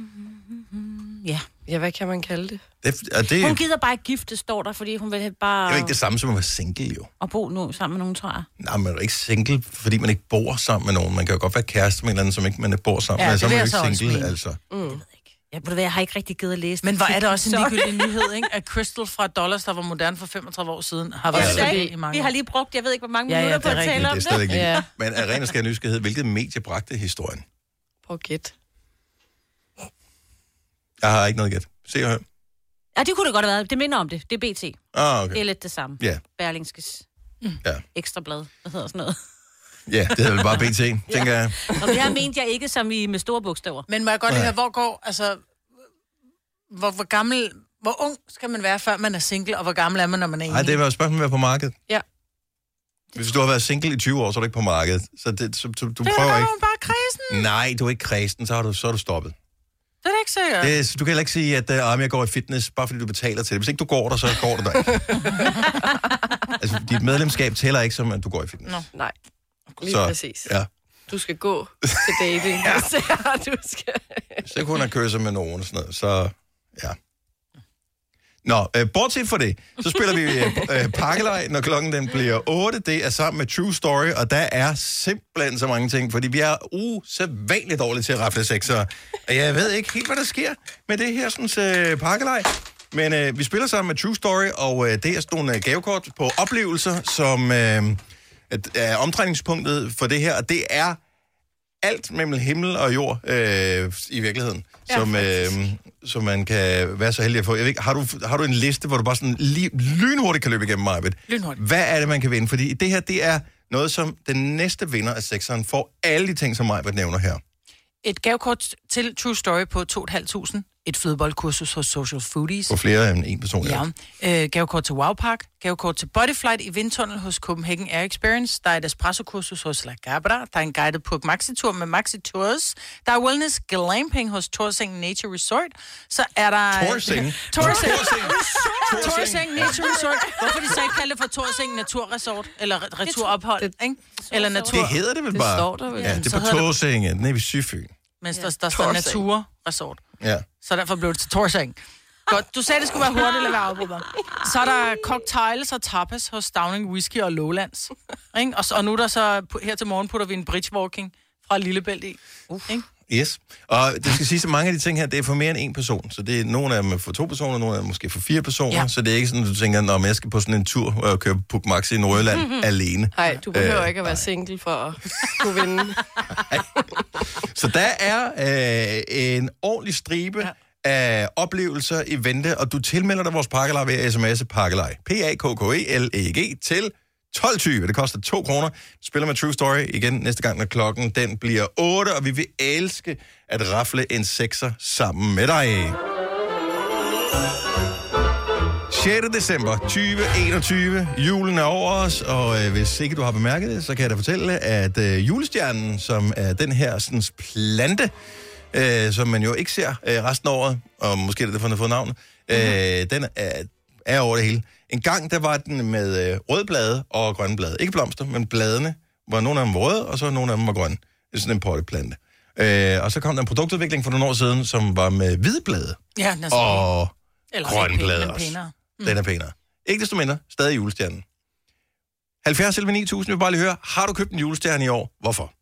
Speaker 5: Ja.
Speaker 6: Ja, hvad kan man kalde det?
Speaker 1: Det, og det,
Speaker 5: Hun gider bare ikke gifte, står der, fordi hun vil have
Speaker 1: Det
Speaker 5: bare
Speaker 1: er jo ikke det samme som at være single, jo.
Speaker 5: at bo nu sammen med nogen, tror jeg.
Speaker 1: Nej, man er jo ikke single, fordi man ikke bor sammen med nogen. Man kan jo godt være kæreste med en eller anden, som ikke man bor sammen
Speaker 5: Ja,
Speaker 1: med.
Speaker 5: det
Speaker 1: Så er
Speaker 5: vil
Speaker 1: man jo
Speaker 5: jeg
Speaker 1: ikke
Speaker 5: så også
Speaker 1: single,
Speaker 5: mene.
Speaker 1: altså.
Speaker 5: Mm. Jeg, ved, du hvad, jeg har ikke rigtig givet at læse
Speaker 2: Men hvor er det også en
Speaker 5: Sorry.
Speaker 2: ligegyldig nyhed, ikke? At Crystal fra Dollars, der var moderne for 35 år siden, har været
Speaker 5: Ja,
Speaker 2: single
Speaker 5: ikke?
Speaker 2: i mange
Speaker 5: Vi
Speaker 2: år.
Speaker 5: har lige brugt, jeg ved ikke, hvor mange
Speaker 2: Ja, ja,
Speaker 5: minutter på
Speaker 2: det er
Speaker 5: at tale
Speaker 1: Men
Speaker 5: om
Speaker 1: det er
Speaker 5: det.
Speaker 1: stadig ikke. Ja. Men af ren og skær nysgerrighed, hvilket medie bragte historien?
Speaker 6: Prøv at gætte.
Speaker 1: Jeg har ikke noget gæt. Se og hør.
Speaker 5: Ja, det kunne det godt have været. Det minder om det. Det er BT.
Speaker 1: Ah,
Speaker 5: Det er
Speaker 1: okay.
Speaker 5: lidt det samme.
Speaker 1: Ja.
Speaker 5: Berlingskes
Speaker 1: Ja.
Speaker 5: ekstrablad. Hvad hedder sådan noget?
Speaker 1: ja, det hedder vel bare BT, tænker jeg.
Speaker 5: Og det her mente jeg ikke som i med store bogstaver.
Speaker 2: Men må jeg godt lige
Speaker 1: Nej.
Speaker 2: høre, hvor går, altså, hvor, hvor gammel, hvor ung skal man være, før man er single, og hvor gammel er man, når man er
Speaker 1: Nej,
Speaker 2: enlig?
Speaker 1: det var jo et spørgsmål med at være på markedet.
Speaker 2: Ja.
Speaker 1: Hvis du har været single i 20 år, så er du ikke på markedet. Så, det, så, så du
Speaker 2: det er da
Speaker 1: prøver
Speaker 2: godt,
Speaker 1: ikke.
Speaker 2: hun bare er kredsen.
Speaker 1: Nej, du er ikke kristen, så, har du, så er du stoppet.
Speaker 2: Det er da ikke sikkert.
Speaker 1: Det, er- så du kan heller ikke sige, at uh, jeg går i fitness, bare fordi du betaler til det. Hvis ikke du går der, så går du der ikke. altså, dit medlemskab tæller ikke som, at du går i fitness.
Speaker 6: Nå. Nej, lige
Speaker 1: så,
Speaker 6: præcis.
Speaker 1: Ja.
Speaker 6: Du skal gå til dating. ja. du skal...
Speaker 1: Hvis ikke hun har kysset med nogen og sådan noget, så ja. Nå, øh, bortset fra det, så spiller vi øh, øh, pakkelej, når klokken den bliver 8. Det er sammen med True Story, og der er simpelthen så mange ting, fordi vi er usædvanligt dårlige til at rafle sekser. Og jeg ved ikke helt, hvad der sker med det her sådan, øh, pakkelej. Men øh, vi spiller sammen med True Story, og øh, det er sådan nogle øh, gavekort på oplevelser, som øh, at, er omdrejningspunktet for det her, og det er alt mellem himmel og jord øh, i virkeligheden, ja, som, øh, som man kan være så heldig at få. Jeg ved ikke, har, du, har du en liste, hvor du bare sådan lige, lynhurtigt kan løbe igennem mig? Lynhurtigt. Hvad er det, man kan vinde? Fordi det her, det er Noget, som den næste vinder af sekseren får alle de ting, som mig vil nævner her.
Speaker 2: Et gavekort til True Story på 2.500. Et flødeboldkursus hos Social Foodies.
Speaker 1: På flere end en person.
Speaker 2: Ja. Øh, gavekort til Wow Park, gavekort til Bodyflight i vindtunnel hos Copenhagen Air Experience, der er et espresso-kursus hos La Gabra, der er en guided Puk Maxi-tur med Maxi Tours, der er wellness glamping hos Torsing Nature Resort, så er der...
Speaker 1: Torsing?
Speaker 2: Torsing.
Speaker 1: Torsing.
Speaker 2: Torsing Nature Resort. Hvorfor de så ikke kalde det for Torsing Naturresort, eller returophold, ikke? Eller natur.
Speaker 1: Det hedder det vel bare? Ja, det
Speaker 2: Så
Speaker 1: er på
Speaker 2: hedder
Speaker 1: Tåsinge, nede ved Syfyn.
Speaker 2: Men der, der står
Speaker 1: Torsing.
Speaker 2: Naturresort.
Speaker 1: Ja.
Speaker 2: Så derfor blev det til Torsing. Godt, du sagde, det skulle være hurtigt at være afbrudt. Så er der cocktails og tapas hos Downing Whisky og Lowlands. Ikke? Og, så, og nu er der så, her til morgen putter vi en bridge walking fra Lillebælt i. Ikke?
Speaker 1: Yes. Og det skal siges, at mange af de ting her, det er for mere end en person. Så det er nogle af dem er for to personer, nogle af dem måske for fire personer. Ja.
Speaker 2: Ja.
Speaker 1: Så det er ikke sådan, at du tænker, når jeg skal på sådan en tur og køre Puk Maxi i Nordjylland
Speaker 6: Mhm.
Speaker 1: alene.
Speaker 6: Nej, du behøver
Speaker 1: Øh,
Speaker 6: øh, ikke at være single for at kunne vinde.
Speaker 1: Så der er øh, en ordentlig stribe ja. af oplevelser i vente, og du tilmelder dig vores pakkelej ved at sms'e pakkelej. E P-A-K-K-E-L-E-G til 12.20. Det koster 2 kroner. Vi Spiller med True Story igen næste gang, når klokken den bliver 8, og vi vil elske at rafle en sekser sammen med dig. 6. december 2021. Julen er over os, og øh, hvis ikke du har bemærket det, så kan jeg da fortælle, at øh, julestjernen, som er den her sådan, plante, øh, som man jo ikke ser øh, resten af året, og måske er det derfor, den har fået navn, øh,
Speaker 2: Mhm.
Speaker 1: den er, er over det hele. En gang, der var den med øh, røde blade og grønne blade. Ikke blomster, men bladene, hvor nogle af dem var røde, og så nogle af dem var grønne. Det er sådan en potteplante. Øh, og så kom der en produktudvikling for nogle år siden, som var med hvide blade.
Speaker 2: Ja, den er så
Speaker 1: og
Speaker 2: Eller
Speaker 1: grønne
Speaker 2: ikke pæn,
Speaker 1: blade
Speaker 2: men
Speaker 1: også.
Speaker 2: pænere.
Speaker 1: Mm. Den er pænere. Ikke desto mindre, stadig julestjernen. 70 eller 9000, vi vil bare lige høre, har du købt en julestjerne i år? Hvorfor?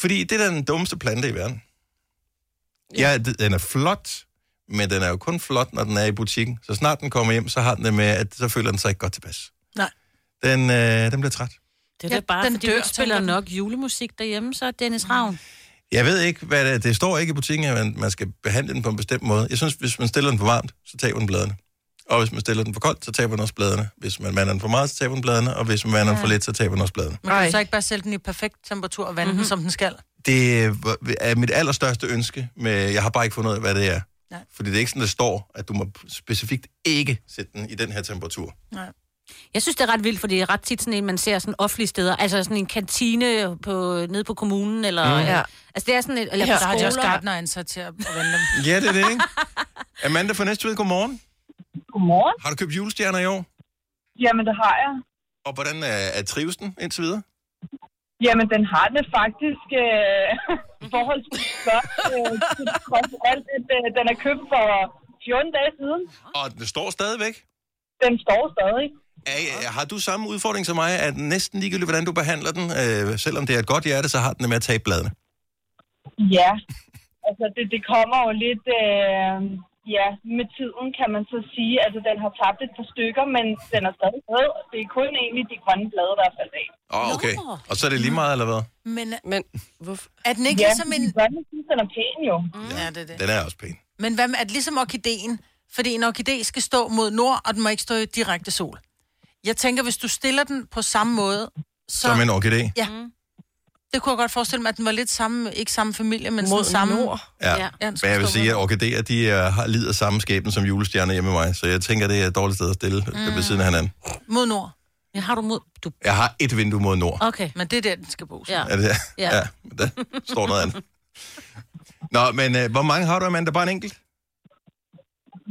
Speaker 1: Fordi det er da den dummeste plante i verden. Ja, ja d- den er flot, men den er jo kun flot, når den er i butikken. Så snart den kommer hjem, så har den det med, at så føler den sig ikke godt tilpas.
Speaker 2: Nej.
Speaker 1: Den, øh, den bliver træt.
Speaker 5: Det er ja, da bare, den fordi dør, du ikke spiller nok julemusik derhjemme, så er Dennis Ravn.
Speaker 1: Jeg ved ikke, hvad det, det står ikke i butikken, at man, man skal behandle den på en bestemt måde. Jeg synes, hvis man stiller den for varmt, så taber den bladene. Og hvis man stiller den for koldt, så taber den også bladene. Hvis man mander den for meget, så taber den bladene. Og hvis man mander den for
Speaker 2: Ja.
Speaker 1: lidt, så taber den også bladene.
Speaker 2: Men kan du så ikke bare sælge den i perfekt temperatur og vande mm-hmm.
Speaker 15: Mhm.
Speaker 2: den, som den skal?
Speaker 1: Det var- er mit allerstørste ønske. Med, jeg har bare ikke fundet ud af, hvad det er.
Speaker 2: Nej.
Speaker 1: Fordi det er ikke sådan, der står, at du må specifikt ikke sætte den i den her temperatur.
Speaker 5: Jeg synes, det er ret vildt, for det er ret tit sådan en, man ser sådan offentlige steder. Altså sådan en kantine på, nede på kommunen, eller...
Speaker 1: Mm.
Speaker 5: Mm. Ja. Altså det er sådan et... Eller
Speaker 2: Ja,
Speaker 5: på
Speaker 2: der har de også
Speaker 5: skoler.
Speaker 2: gardnere ansat til at at vende dem.
Speaker 1: Ja, det er det, ikke? Amanda fra Næstved, godmorgen.
Speaker 15: Godmorgen.
Speaker 1: Har du købt julestjerner i år?
Speaker 15: Jamen, det har jeg.
Speaker 1: Og hvordan er, er trives den indtil videre?
Speaker 15: Jamen, den har det faktisk øh, forholdsvis godt. Øh, til trods alt, at øh, den er købt for 14 dage siden.
Speaker 1: Og den står stadigvæk?
Speaker 15: Den står stadig.
Speaker 1: Er, øh, har du samme udfordring som mig, at næsten ligegyldigt, hvordan du behandler den, øh, selvom det er et godt hjerte, så har den det med at tabe bladene?
Speaker 15: Ja. Altså, det, det kommer jo lidt... Øh, ja, med tiden kan man så sige, at altså, den har tabt et par stykker, men den er stadig rød. Det er kun egentlig de grønne blade, der er faldet af.
Speaker 1: Åh, oh, okay. Og så er det lige meget, eller hvad?
Speaker 2: Men, øh,
Speaker 6: men hvorfor?
Speaker 2: er den ikke
Speaker 15: ja,
Speaker 2: ligesom en...
Speaker 15: de grønne synes, den er pæn jo.
Speaker 2: Mm. Ja, det er det.
Speaker 1: Den er også pæn.
Speaker 2: Men hvad med, at ligesom orkideen, fordi en orkidé skal stå mod nord, og den må ikke stå i direkte sol. Jeg tænker, hvis du stiller den på samme måde, så...
Speaker 1: Som en orkidé?
Speaker 2: Ja. Det kunne jeg godt forestille mig, at den var lidt samme, ikke samme familie, men sådan
Speaker 6: Mod
Speaker 2: samme...
Speaker 6: nord.
Speaker 1: Ja. ja
Speaker 2: den
Speaker 1: Men
Speaker 2: skulle
Speaker 1: jeg vil
Speaker 2: stå
Speaker 1: sige, at orkideer, de er, har, lider samme skæbne som julestjerner hjemme med mig, så jeg tænker, det er et dårligt sted at stille mm. ved siden af hinanden.
Speaker 2: Mod nord.
Speaker 5: Ja, har du mod... Du...
Speaker 1: Jeg har et vindue mod nord.
Speaker 5: Okay.
Speaker 2: Men det er der, den skal bo. så.
Speaker 5: Ja.
Speaker 1: Er det der?
Speaker 5: Ja.
Speaker 1: ja. Der står noget andet. Nå, men øh, hvor mange har du, Amanda? Bare en enkelt?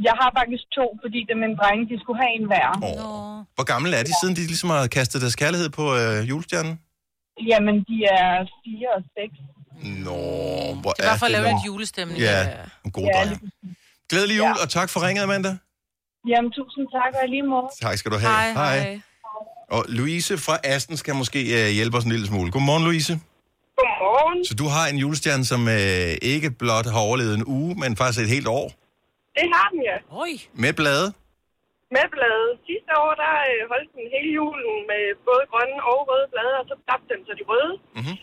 Speaker 15: Jeg har faktisk to, fordi det mine drenge, de skulle have en hver.
Speaker 1: Oh. Hvor gamle er de, siden de ligesom har kastet deres kærlighed på øh, julestjernen?
Speaker 15: Jamen, de er fire og seks.
Speaker 1: Nå, hvor
Speaker 2: Det er bare for at lave
Speaker 1: lang.
Speaker 2: lidt julestemning. øh.
Speaker 1: Ja, en god
Speaker 15: Ja,
Speaker 1: ja. dreng. Glædelig jul, ja. og tak for ringet, Amanda.
Speaker 15: Jamen, tusind tak, og i lige måde.
Speaker 1: Tak skal du have. Og Louise fra Asten skal måske øh, hjælpe os en lille smule. Godmorgen, Louise.
Speaker 15: Godmorgen.
Speaker 1: Så du har en julestjerne, som øh, ikke blot har overlevet en uge, men faktisk et helt år
Speaker 15: Det har den, ja.
Speaker 2: Oj.
Speaker 1: med blade.
Speaker 15: Med blade. Sidste år, der øh, holdt den hele julen med både grønne og røde blade, og så tabte den så de røde.
Speaker 1: Mm-hmm.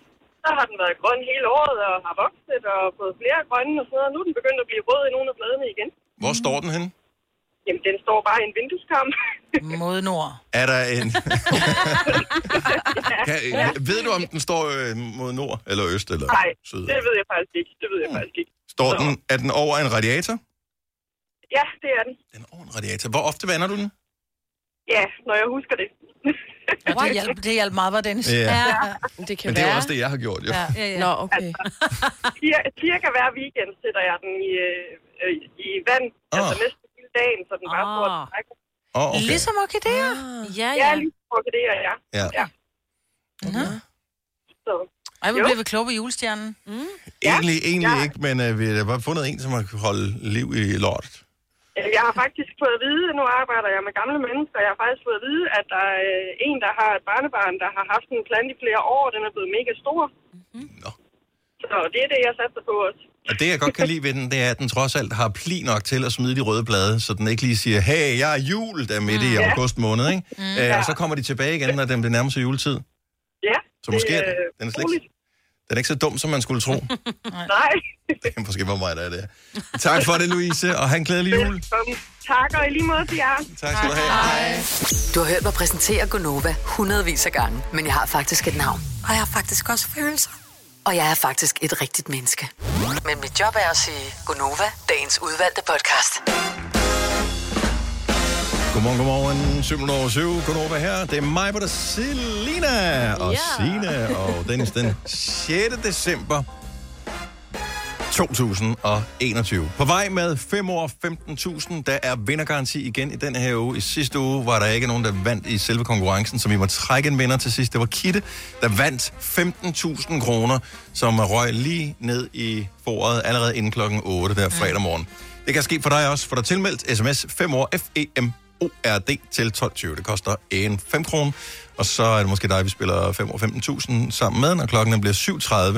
Speaker 15: Så har den været grøn hele året og har vokset og fået flere grønne og sådan noget. Nu er den begyndt at blive rød i nogle af bladene igen.
Speaker 1: Hvor står den henne?
Speaker 16: Jamen, den står bare i en vindueskarm.
Speaker 2: Mod nord.
Speaker 1: Er der en... kan, ved du, om den står øh, mod nord, eller øst, eller
Speaker 16: Nej,
Speaker 1: syd?
Speaker 16: det ved jeg faktisk ikke. Det ved
Speaker 1: Mm.
Speaker 16: jeg faktisk ikke.
Speaker 1: Står den, er den over en radiator?
Speaker 16: Ja, det er den.
Speaker 1: En radiator. Hvor ofte vander du den?
Speaker 16: Ja, når jeg husker det.
Speaker 2: Wow, hjælp, det hjalp meget, var Dennis.
Speaker 1: Ja. Ja.
Speaker 2: Det kan
Speaker 1: Men det er
Speaker 2: være.
Speaker 1: jo også det, jeg har gjort, jo.
Speaker 2: Ja, ja, ja. Nå, okay.
Speaker 16: Cir- cirka hver weekend sætter jeg den i, øh, øh, i vand,
Speaker 1: Ah.
Speaker 16: oh. altså næsten hele dagen, så den bare får oh.
Speaker 1: Åh, oh, okay.
Speaker 2: Ligesom orkideer. Ah. Ja,
Speaker 16: Ja, ligesom orkideer, ja.
Speaker 1: Ja.
Speaker 2: Nå.
Speaker 16: Så.
Speaker 2: Ej, hvor
Speaker 16: Jo.
Speaker 2: bliver vi kloge på julestjernen. Mm.
Speaker 1: Egentlig, egentlig ikke, men øh, vi har bare fundet en, som har kunnet holde liv i lort.
Speaker 16: Øh, Jeg har faktisk fået at vide, nu arbejder jeg med gamle mennesker, jeg har faktisk fået at vide, at der er øh, en, der har et barnebarn, der har haft en plante i flere år, og den er blevet mega stor. Mm-hmm. Så det er det, jeg satser på også.
Speaker 1: Og det, jeg godt kan lide ved den, det er, at den trods alt har pli nok til at smide de røde blade, så den ikke lige siger, hey, jeg er jul, der er midt i
Speaker 16: Mm. Ja.
Speaker 1: august måned, ikke?
Speaker 16: Mm.
Speaker 1: Øh, og så kommer de tilbage igen, når den bliver nærmest juletid.
Speaker 16: Ja,
Speaker 1: Så måske er
Speaker 16: det, øh,
Speaker 1: den- den er slet ikke, den er ikke så dum, som man skulle tro.
Speaker 16: Nej,
Speaker 1: Det kan måske være mig, der er det. Tak for det, Louise, og have en glædelig jul.
Speaker 16: velkommen. Tak, og i lige måde til jer.
Speaker 1: Tak skal du have.
Speaker 8: Du har hørt mig præsentere Gonova hundredvis af gange, men jeg har faktisk et navn.
Speaker 17: Og jeg har faktisk også følelser.
Speaker 8: Og jeg er faktisk et rigtigt menneske. Men mit job er at sige Gonova, dagens udvalgte podcast.
Speaker 1: Godmorgen, godmorgen. 7 over 7. Godnova her. Det er mig, på der Selina og
Speaker 18: Ja.
Speaker 1: Sina og Dennis den 6. december 2021. På vej med 5 år 15.000. Der er vindergaranti igen i den her uge. I sidste uge var der ikke nogen, der vandt i selve konkurrencen, så vi må trække en vinder til sidst. Det var Kitte, der vandt 15.000 kroner, som røg lige ned i foråret allerede inden klokken 8 der fredag morgen. Det kan ske for dig også, for der er tilmeldt sms 5 år E FEM ORD til 12.20. Det koster en 5 kroner. Og så er det måske dig, vi spiller 5 år 15.000 sammen med, når klokken den bliver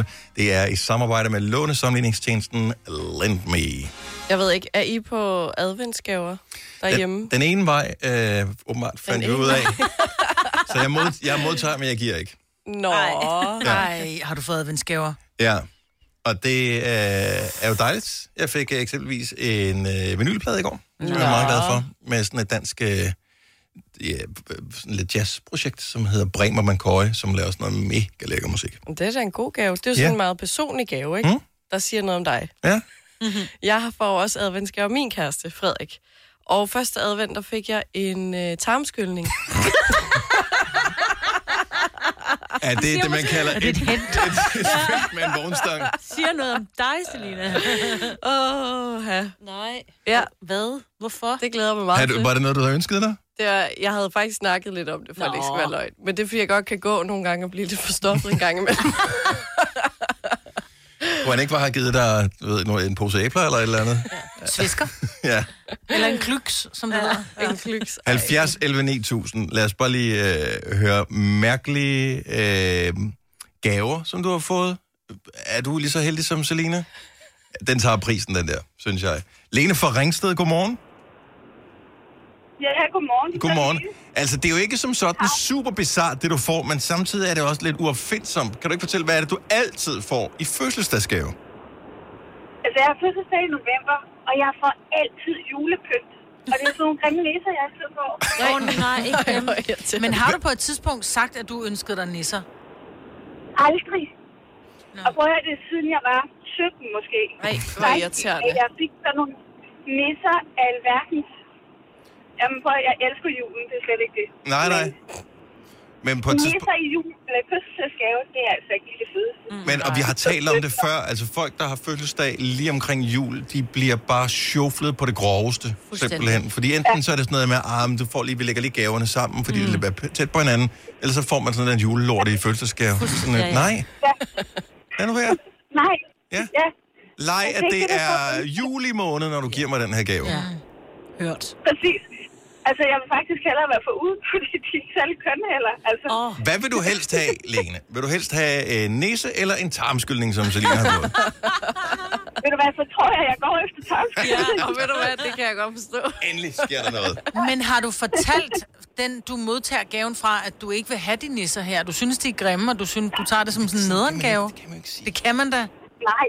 Speaker 1: 7.30. Det er i samarbejde med lånesamligningstjenesten LendMe.
Speaker 6: Jeg ved ikke, er I på adventsgaver derhjemme?
Speaker 1: Den, den ene vej, øh, åbenbart, fandt jeg ud af. Så jeg, mod, jeg modtager, men jeg giver ikke.
Speaker 6: Nå.
Speaker 2: Nej, har du fået adventsgaver?
Speaker 1: Ja. Og det øh, er jo dejligt. Jeg fik øh, eksempelvis en øh, vinylplade i går, som jeg er
Speaker 2: Nå.
Speaker 1: meget glad for, med sådan et dansk øh, ja, sådan lidt jazzprojekt, som hedder Bremer Mankøje, som laver sådan noget mega lækker musik.
Speaker 6: Men Det er da en god gave. Det er jo
Speaker 1: Ja.
Speaker 6: sådan en meget personlig gave, ikke?
Speaker 1: Mm.
Speaker 6: Der siger noget om dig.
Speaker 1: Ja.
Speaker 5: Mhm.
Speaker 6: Jeg får jo også adventsgave af min kæreste, Frederik. Og første advent, der fik jeg en øh, tarmskyldning.
Speaker 1: Er det
Speaker 6: siger
Speaker 1: det, man
Speaker 6: måske-
Speaker 1: kalder
Speaker 6: Er det et hint?
Speaker 1: et sving med en vognstang?
Speaker 5: Siger noget om dig, Selina.
Speaker 6: Åh, oh,
Speaker 5: Nej.
Speaker 6: Ja.
Speaker 5: Hvad? Hvorfor?
Speaker 6: Det glæder jeg mig meget
Speaker 1: Er du, var det noget, du havde ønsket dig?
Speaker 6: Det er, jeg havde faktisk snakket lidt om det, for Nå. at det ikke skal være løgn. Men det er, fordi jeg godt kan gå nogle gange og blive lidt forstoppet en gang imellem.
Speaker 1: Kunne han ikke bare have givet dig du ved, noget- en pose æbler eller et eller andet?
Speaker 2: Svisker?
Speaker 1: Ja.
Speaker 2: Eller en klyks, som det hedder. Ja,
Speaker 6: en klyks.
Speaker 1: 70 11 9000. Lad os bare lige øh, høre mærkelige øh, gaver, som du har fået. Er du lige så heldig som Selina? Den tager prisen, den der, synes jeg. Lene fra Ringsted, godmorgen.
Speaker 15: Ja, godmorgen.
Speaker 1: Godmorgen. Altså, det er jo ikke som sådan super bizart, det du får, men samtidig er det også lidt uopfindsomt. Kan du ikke fortælle, hvad er det, du altid får i fødselsdagsgave?
Speaker 15: Altså, jeg har fødselsdag i november, og jeg får altid julepynt. Og det er sådan nogle grimme læser, jeg altid får.
Speaker 2: Åh, oh, nej, ikke dem. Men har du på et tidspunkt sagt, at du ønskede dig nisser?
Speaker 15: Aldrig. Og prøv at høre, det er siden jeg var 17 måske. Nej,
Speaker 6: hvor irriterende.
Speaker 15: Jeg fik sådan nogle nisser af alverdens. Jamen prøv at høre, jeg elsker julen, det er slet ikke det.
Speaker 1: Nej, nej. Men på et tidspunkt...
Speaker 15: Nisser i julen eller fødselsdagsgave, det er altså ikke lige det fedeste.
Speaker 1: Men, og vi har talt om det før, altså folk, der har fødselsdag lige omkring jul, de bliver bare sjoflet på det groveste,
Speaker 15: Fuldstændig.
Speaker 1: simpelthen. Fordi enten så er det sådan noget med, ah, men du får lige, vi lægger lige gaverne sammen, fordi mm. det bliver tæt på hinanden, eller så får man sådan en julelort i fødselsdagsgave. Sådan,
Speaker 15: Ja,
Speaker 1: ja,
Speaker 15: ja.
Speaker 1: nej, lad nu være.
Speaker 15: Nej.
Speaker 1: Ja.
Speaker 15: ja.
Speaker 1: Leg,
Speaker 15: Altså,
Speaker 1: at
Speaker 15: ikke
Speaker 1: det
Speaker 15: det, der
Speaker 1: er juli måned, når du giver mig den her gave. Ja.
Speaker 2: Hørt.
Speaker 15: Præcis. Altså, jeg vil faktisk hellere være forud på de digitale kønheller. Altså, oh.
Speaker 1: Hvad vil du helst have, Lene? Vil du helst have en næse eller en tarmskyldning, som Selina har fået?
Speaker 15: ved du hvad, så tror jeg, jeg går efter tavs.
Speaker 6: ja, og ved du hvad, det kan jeg godt forstå.
Speaker 1: Endelig sker der noget.
Speaker 2: Men har du fortalt den, du modtager gaven fra, at du ikke vil have de nisser her? Du synes, de er grimme, og du, synes, du tager det som sådan en nedengave? Det kan man da.
Speaker 15: Nej,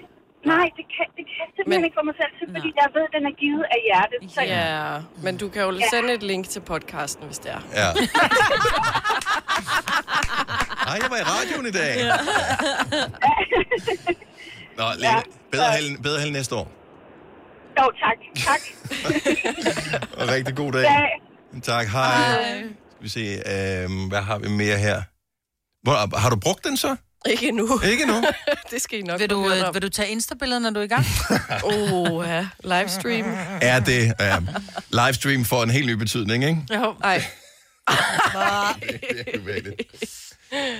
Speaker 15: Nej, det kan, det kan jeg simpelthen
Speaker 6: Men-
Speaker 15: ikke få mig selv til, fordi jeg ved, at den er givet af hjertet. Så
Speaker 6: Ja, men du kan jo
Speaker 15: Ja.
Speaker 6: sende et link til podcasten, hvis det er.
Speaker 1: Ja. Ej, jeg var i radioen i dag. Ja. Nå, Lene, ja. bedre, held, bedre held næste år.
Speaker 15: Jo, tak. Tak.
Speaker 1: Og rigtig god dag.
Speaker 15: Dag.
Speaker 1: Tak, hej. Skal vi se, øh, hvad har vi mere her? Hvor, har du brugt den så?
Speaker 6: Ikke endnu.
Speaker 1: Ikke endnu?
Speaker 6: det skal I nok
Speaker 2: Vil du,
Speaker 6: få hørt
Speaker 2: øh,
Speaker 6: om.
Speaker 2: vil du tage Insta-billeder, når du er i gang?
Speaker 6: Åh, ja. Livestream.
Speaker 1: Er det øh, livestream for en helt ny betydning, ikke?
Speaker 6: Jo. Ej.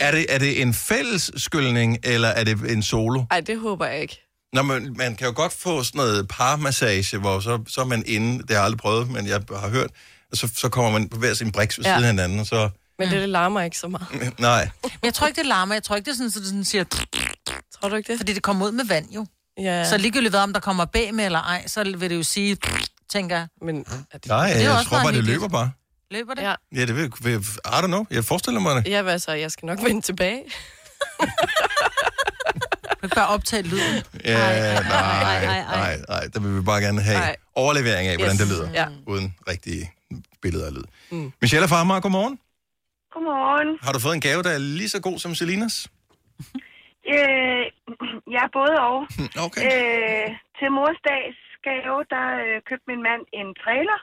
Speaker 1: Er det, er det en fælles skyldning, eller er det en solo?
Speaker 6: Ej, det håber jeg ikke.
Speaker 1: Nå, men man kan jo godt få sådan noget parmassage, hvor så, så er man inde, det har jeg aldrig prøvet, men jeg har hørt, og så, så kommer man på hver sin briks ved
Speaker 6: Ja.
Speaker 1: ja. siden af hinanden, og så...
Speaker 6: Men det, det larmer ikke så meget.
Speaker 1: Nej.
Speaker 2: Men jeg tror ikke, det larmer. Jeg tror ikke, det er sådan, så det sådan siger...
Speaker 6: Tror du ikke det?
Speaker 2: Fordi det kommer ud med vand jo.
Speaker 6: Ja.
Speaker 2: Så ligegyldigt hvad, om der kommer bag med eller ej, så vil det jo sige... Tænker jeg.
Speaker 6: Men,
Speaker 1: Nej,
Speaker 2: er
Speaker 1: jeg,
Speaker 2: også
Speaker 1: jeg
Speaker 2: meget
Speaker 1: tror bare, det
Speaker 2: hyggeligt.
Speaker 1: løber bare.
Speaker 2: Løber det? Ja.
Speaker 1: Ja, det vil, vil, I don't know. Jeg forestiller mig det.
Speaker 6: Ja, hvad så? Jeg skal nok vende tilbage.
Speaker 2: Du kan bare optage lyden.
Speaker 1: Ja, Øh, nej,
Speaker 2: ej,
Speaker 1: nej,
Speaker 2: ej, ej.
Speaker 1: nej, nej. Der vil vi bare gerne have
Speaker 2: Ej.
Speaker 1: overlevering af, hvordan
Speaker 6: Yes.
Speaker 1: det lyder,
Speaker 6: Ja.
Speaker 1: uden rigtige billeder og lyd.
Speaker 6: Mm.
Speaker 1: Michelle Farmer, godmorgen.
Speaker 15: Godmorgen.
Speaker 1: Har du fået en gave, der er lige så god som Selinas?
Speaker 15: Øh, ja, både og.
Speaker 1: Okay.
Speaker 15: Øh, til mors dags gave, der øh, købte min mand en trailer.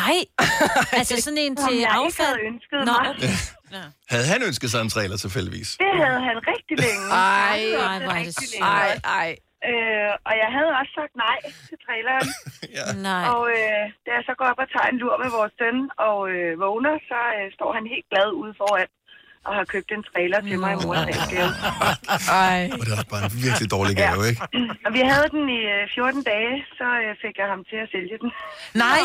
Speaker 5: Nej. Altså sådan en
Speaker 15: Som
Speaker 5: til
Speaker 15: jeg ikke
Speaker 5: affald.
Speaker 15: havde ønsket
Speaker 5: Nå,
Speaker 15: mig.
Speaker 5: okay.
Speaker 1: Havde han ønsket sig en trailer tilfældigvis?
Speaker 15: Det havde han rigtig længe. Han
Speaker 6: Ej,
Speaker 15: havde
Speaker 6: ej,
Speaker 15: det
Speaker 6: hvor er det
Speaker 15: rigtig
Speaker 6: sødt.
Speaker 15: længe.
Speaker 6: Ej, ej.
Speaker 15: Øh, og jeg havde også sagt nej til traileren.
Speaker 1: ja.
Speaker 5: Nej.
Speaker 15: Og øh, da jeg så går op og tager en lur med vores søn og øh, vågner, så øh, står han helt glad ude foran og har købt en trailer til mig i mors dagsgave.
Speaker 6: Ej.
Speaker 1: Og det er også bare en virkelig dårlig gave, ikke?
Speaker 15: Og vi havde den i øh, 14 dage, så øh, fik jeg ham til at sælge den.
Speaker 2: Nej!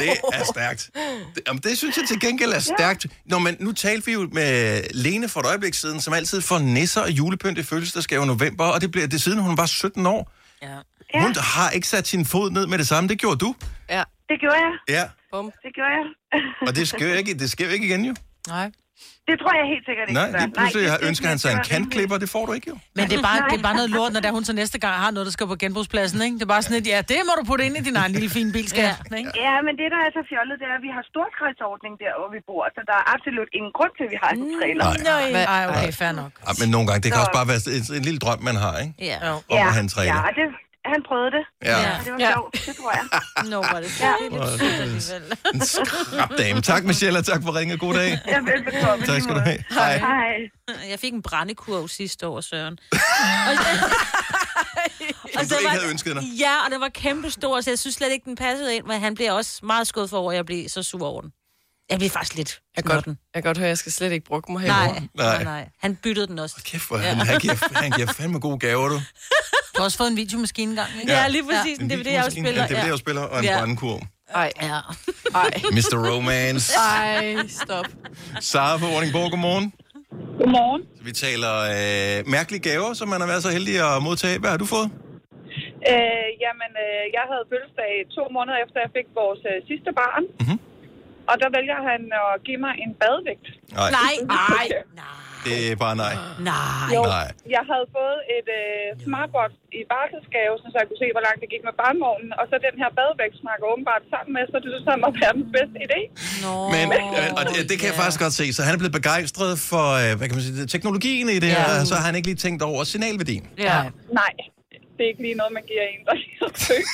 Speaker 1: Det er stærkt. Det, jamen, det synes jeg til gengæld er stærkt. Nå, men nu talte vi jo med Lene for et øjeblik siden, som altid får nisser og julepynt i fødselsdagsgave i november, og det bliver det siden hun var 17 år. Ja. Hun har ikke sat sin fod ned med det samme. Det gjorde du.
Speaker 6: Ja.
Speaker 15: Det gjorde jeg.
Speaker 1: Ja,
Speaker 6: Bum.
Speaker 15: Det gjorde jeg.
Speaker 1: og det sker jo ikke, det sker jo ikke igen jo.
Speaker 2: Nej.
Speaker 15: Det tror jeg helt sikkert ikke.
Speaker 1: Nej, lige pludselig har- ønsker han sig en kantklipper, det får du ikke jo.
Speaker 2: Men det er, bare, det er bare noget lort, når det er, hun så næste gang har noget, der skal på genbrugspladsen, ikke? Det er bare sådan et, ja, det må du putte ind i din egen lille fine bil, skal ja. ikke?
Speaker 15: Ja, men det, der er så fjollet, det er, at vi har storkredsordning der, hvor vi bor, så der er absolut ingen grund til, at vi har en trailer.
Speaker 2: Nej. Ej, okay, fair nok.
Speaker 1: Ja, men nogle gange, det kan
Speaker 15: Nå.
Speaker 1: også bare være en, en lille drøm, man har, ikke?
Speaker 2: Ja.
Speaker 1: Om at have en trailer.
Speaker 15: Ja, det, han prøvede det.
Speaker 1: Ja.
Speaker 15: Og det var
Speaker 2: Ja.
Speaker 15: sjovt, det tror jeg.
Speaker 5: Nå, var det
Speaker 1: En skrab dame. Tak, Michelle, og tak for ringen. God dag.
Speaker 15: Ja, velbekomme.
Speaker 1: Tak skal du have.
Speaker 5: Hej.
Speaker 15: Hej.
Speaker 5: Jeg fik en brændekurv sidste år, Søren. og,
Speaker 1: Som du
Speaker 5: den
Speaker 1: ikke havde ønsket dig.
Speaker 5: Ja, og den var kæmpe stor, så jeg synes slet ikke, den passede ind, men han blev også meget skudt for over, at jeg blev så sur over den. Jeg blev faktisk lidt
Speaker 6: Jeg kan,
Speaker 5: knotten.
Speaker 6: godt, jeg kan godt høre, at jeg skal slet ikke bruge mig
Speaker 5: Nej,
Speaker 6: herovre.
Speaker 5: nej, nej. Han byttede den også.
Speaker 1: Kæft, hvor han, han, giver, han giver fandme gode gaver, du.
Speaker 2: Du har også fået en videomaskine engang, ikke?
Speaker 5: Ja, lige præcis. En
Speaker 1: En
Speaker 5: DVD afspiller.
Speaker 1: En DVD-afspiller og en
Speaker 5: Ja.
Speaker 1: ja. brandkurv.
Speaker 6: Ej.
Speaker 5: Ja.
Speaker 6: Ej.
Speaker 1: Mr. Romance.
Speaker 6: Ej, stop.
Speaker 1: Sara fra Vordingborg, godmorgen.
Speaker 17: Godmorgen.
Speaker 1: Så vi taler øh, mærkelige gaver, som man har været så heldig at modtage. Hvad har du fået?
Speaker 17: Øh, jamen, øh, jeg havde fødselsdag to måneder efter, jeg fik vores øh, sidste barn.
Speaker 1: Mhm.
Speaker 17: Mm-hmm. Og der vælger han at give mig en badevægt.
Speaker 1: Nej. Nej,
Speaker 17: nej,
Speaker 1: Det er bare nej.
Speaker 5: Nej.
Speaker 17: Jo,
Speaker 1: Nej.
Speaker 17: jeg havde fået et øh, smartbox i barselsgave, sådan så jeg kunne se, hvor langt det gik med barnvognen. Og så den her badevægt snakker åbenbart sammen med, så det synes han må være den bedste idé.
Speaker 1: Men, øh, og det, det kan jeg faktisk godt se. Så han er blevet begejstret for, øh, hvad kan man sige, teknologien i det
Speaker 17: Ja.
Speaker 1: her, og så har han ikke lige tænkt over signalværdien.
Speaker 17: Ja. Nej, det er ikke lige noget, man giver en, der er søgt.